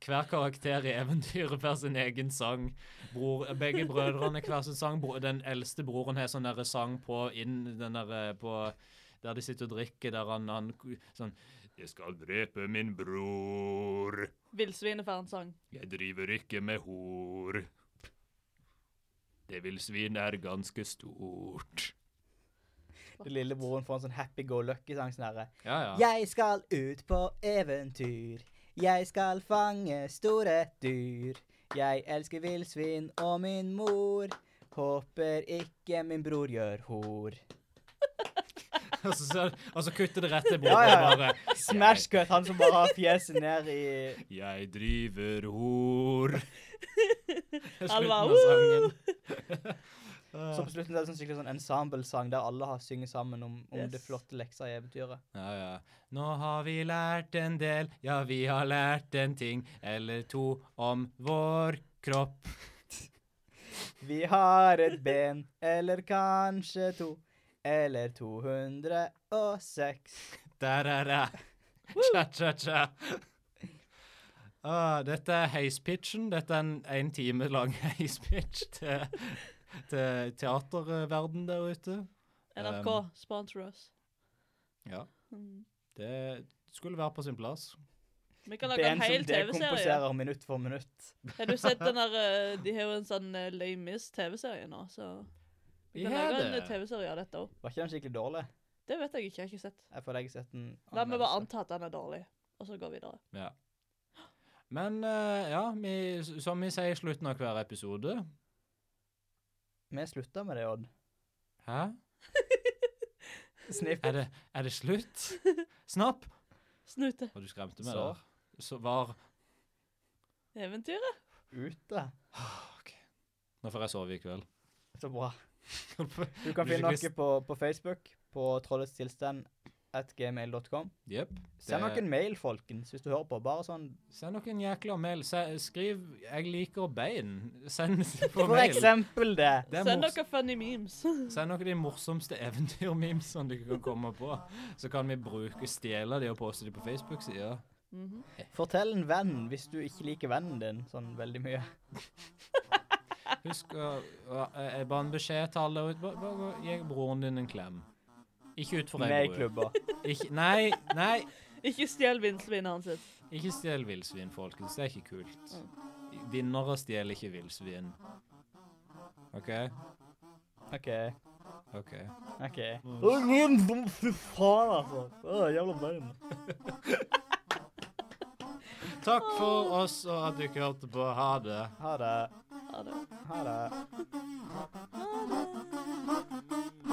S2: Hver karakter i eventyret får sin egen sang. Bror, begge brødrene hver sin sang. Bro, den eldste broren har sånn derre sang på inn den derre på Der de sitter og drikker, der han, han sånn Jeg skal drepe min bror.
S1: Villsvinet får en sang.
S2: Jeg driver ikke med hor. Det villsvin er ganske stort.
S3: Den lille broren får en sånn happy go lucky-sang sånn herre.
S2: Ja, ja.
S3: Jeg skal ut på eventyr. Jeg skal fange store dyr. Jeg elsker villsvin og min mor. Håper ikke min bror gjør hor.
S2: Og så, så- og så kutter det rett til broren
S3: Ja, ja, ja.
S2: bare
S3: Smash cut, han som bare har fjeset ned i
S2: Jeg driver hor. Det er
S1: Han
S2: Slutten
S1: var,
S2: av
S1: «Woo!»
S2: sangen.
S3: Så på slutten er det sånn skikkelig sånn ensemble-sang der alle har synger sammen om, om
S1: Yes.
S3: det flotte leksa i eventyret.
S2: Ja, ja. Nå har vi lært en del, ja, vi har lært en ting eller to om vår kropp.
S3: Vi har et ben, eller kanskje to, eller 206.
S2: Der er det. Tja, tja, tja. Ah, dette er heispitchen. Dette er en en time lang heispitch til, til teaterverden der ute.
S1: NRK,
S2: Um,
S1: sponsor oss.
S2: Ja,
S1: Mm.
S2: det skulle være på sin plass.
S1: Vi kan lage en
S3: Ben
S1: hel
S3: som
S1: TV-serie.
S3: dekomposerer minutt for minutt.
S1: Har du sett den der eh, De har jo en sånn eh, Lay Miss-TV-serie nå, så Vi
S2: Vi
S1: kan
S2: har
S1: lage en eh,
S2: det.
S1: TV-serie av dette òg.
S3: Var ikke den skikkelig dårlig?
S1: Det vet jeg ikke, jeg har ikke sett.
S3: Jeg føler jeg har sett den
S1: La meg bare
S3: annerledes.
S1: anta at den er dårlig, og så gå videre.
S2: Ja. Men eh, ja, vi, som vi sier i slutten av hver episode
S3: Vi slutta med det, Odd.
S2: Hæ?
S3: Snipp.
S2: Er det, er det slutt? Snapp!
S1: Snute.
S2: Og du skremte meg
S3: Så.
S2: der. Så var
S1: Eventyret?
S3: Ute.
S2: OK. Nå får jeg sove i kveld.
S3: Så bra. Du kan
S2: Blir
S3: finne
S2: skikkelig
S3: oss på, på Facebook, på trollets tilstand at gmail.com.
S2: Jepp.
S3: Send
S2: Det-
S3: noen mail, folkens, hvis du hører på. Bare sånn
S2: Send noen jækla mail. Se, skriv 'jeg liker bein'. Send på
S3: For
S2: mail.
S3: eksempel det.
S2: Det er
S1: Send
S2: mors-
S1: dere funny memes.
S2: Send noen av de morsomste eventyrmemesene du kan komme på. Så kan vi bruke stjele de og poste de på Facebook-sida.
S1: Mhm.
S3: Fortell en venn hvis du ikke liker vennen din sånn veldig mye.
S2: Husk å å- eh, Bare en beskjed til alle der ute. Bare- Bare gi broren din en klem. Ikke utfor ei
S3: Med i
S2: bru.
S3: klubber.
S2: Ikke- Nei, nei.
S1: Ikke stjel villsvinet hans. sitt.
S2: Ikke stjel villsvin, folkens. Det er ikke kult. Vinnere stjeler ikke villsvin. OK?
S3: OK.
S2: OK.
S3: Ok. Fy faen, altså. Å, jævla bein.
S2: Takk for oss og at dere hørte på. Ha det.
S3: Ha det.
S1: Ha det.
S3: Ha det.
S1: Ha det.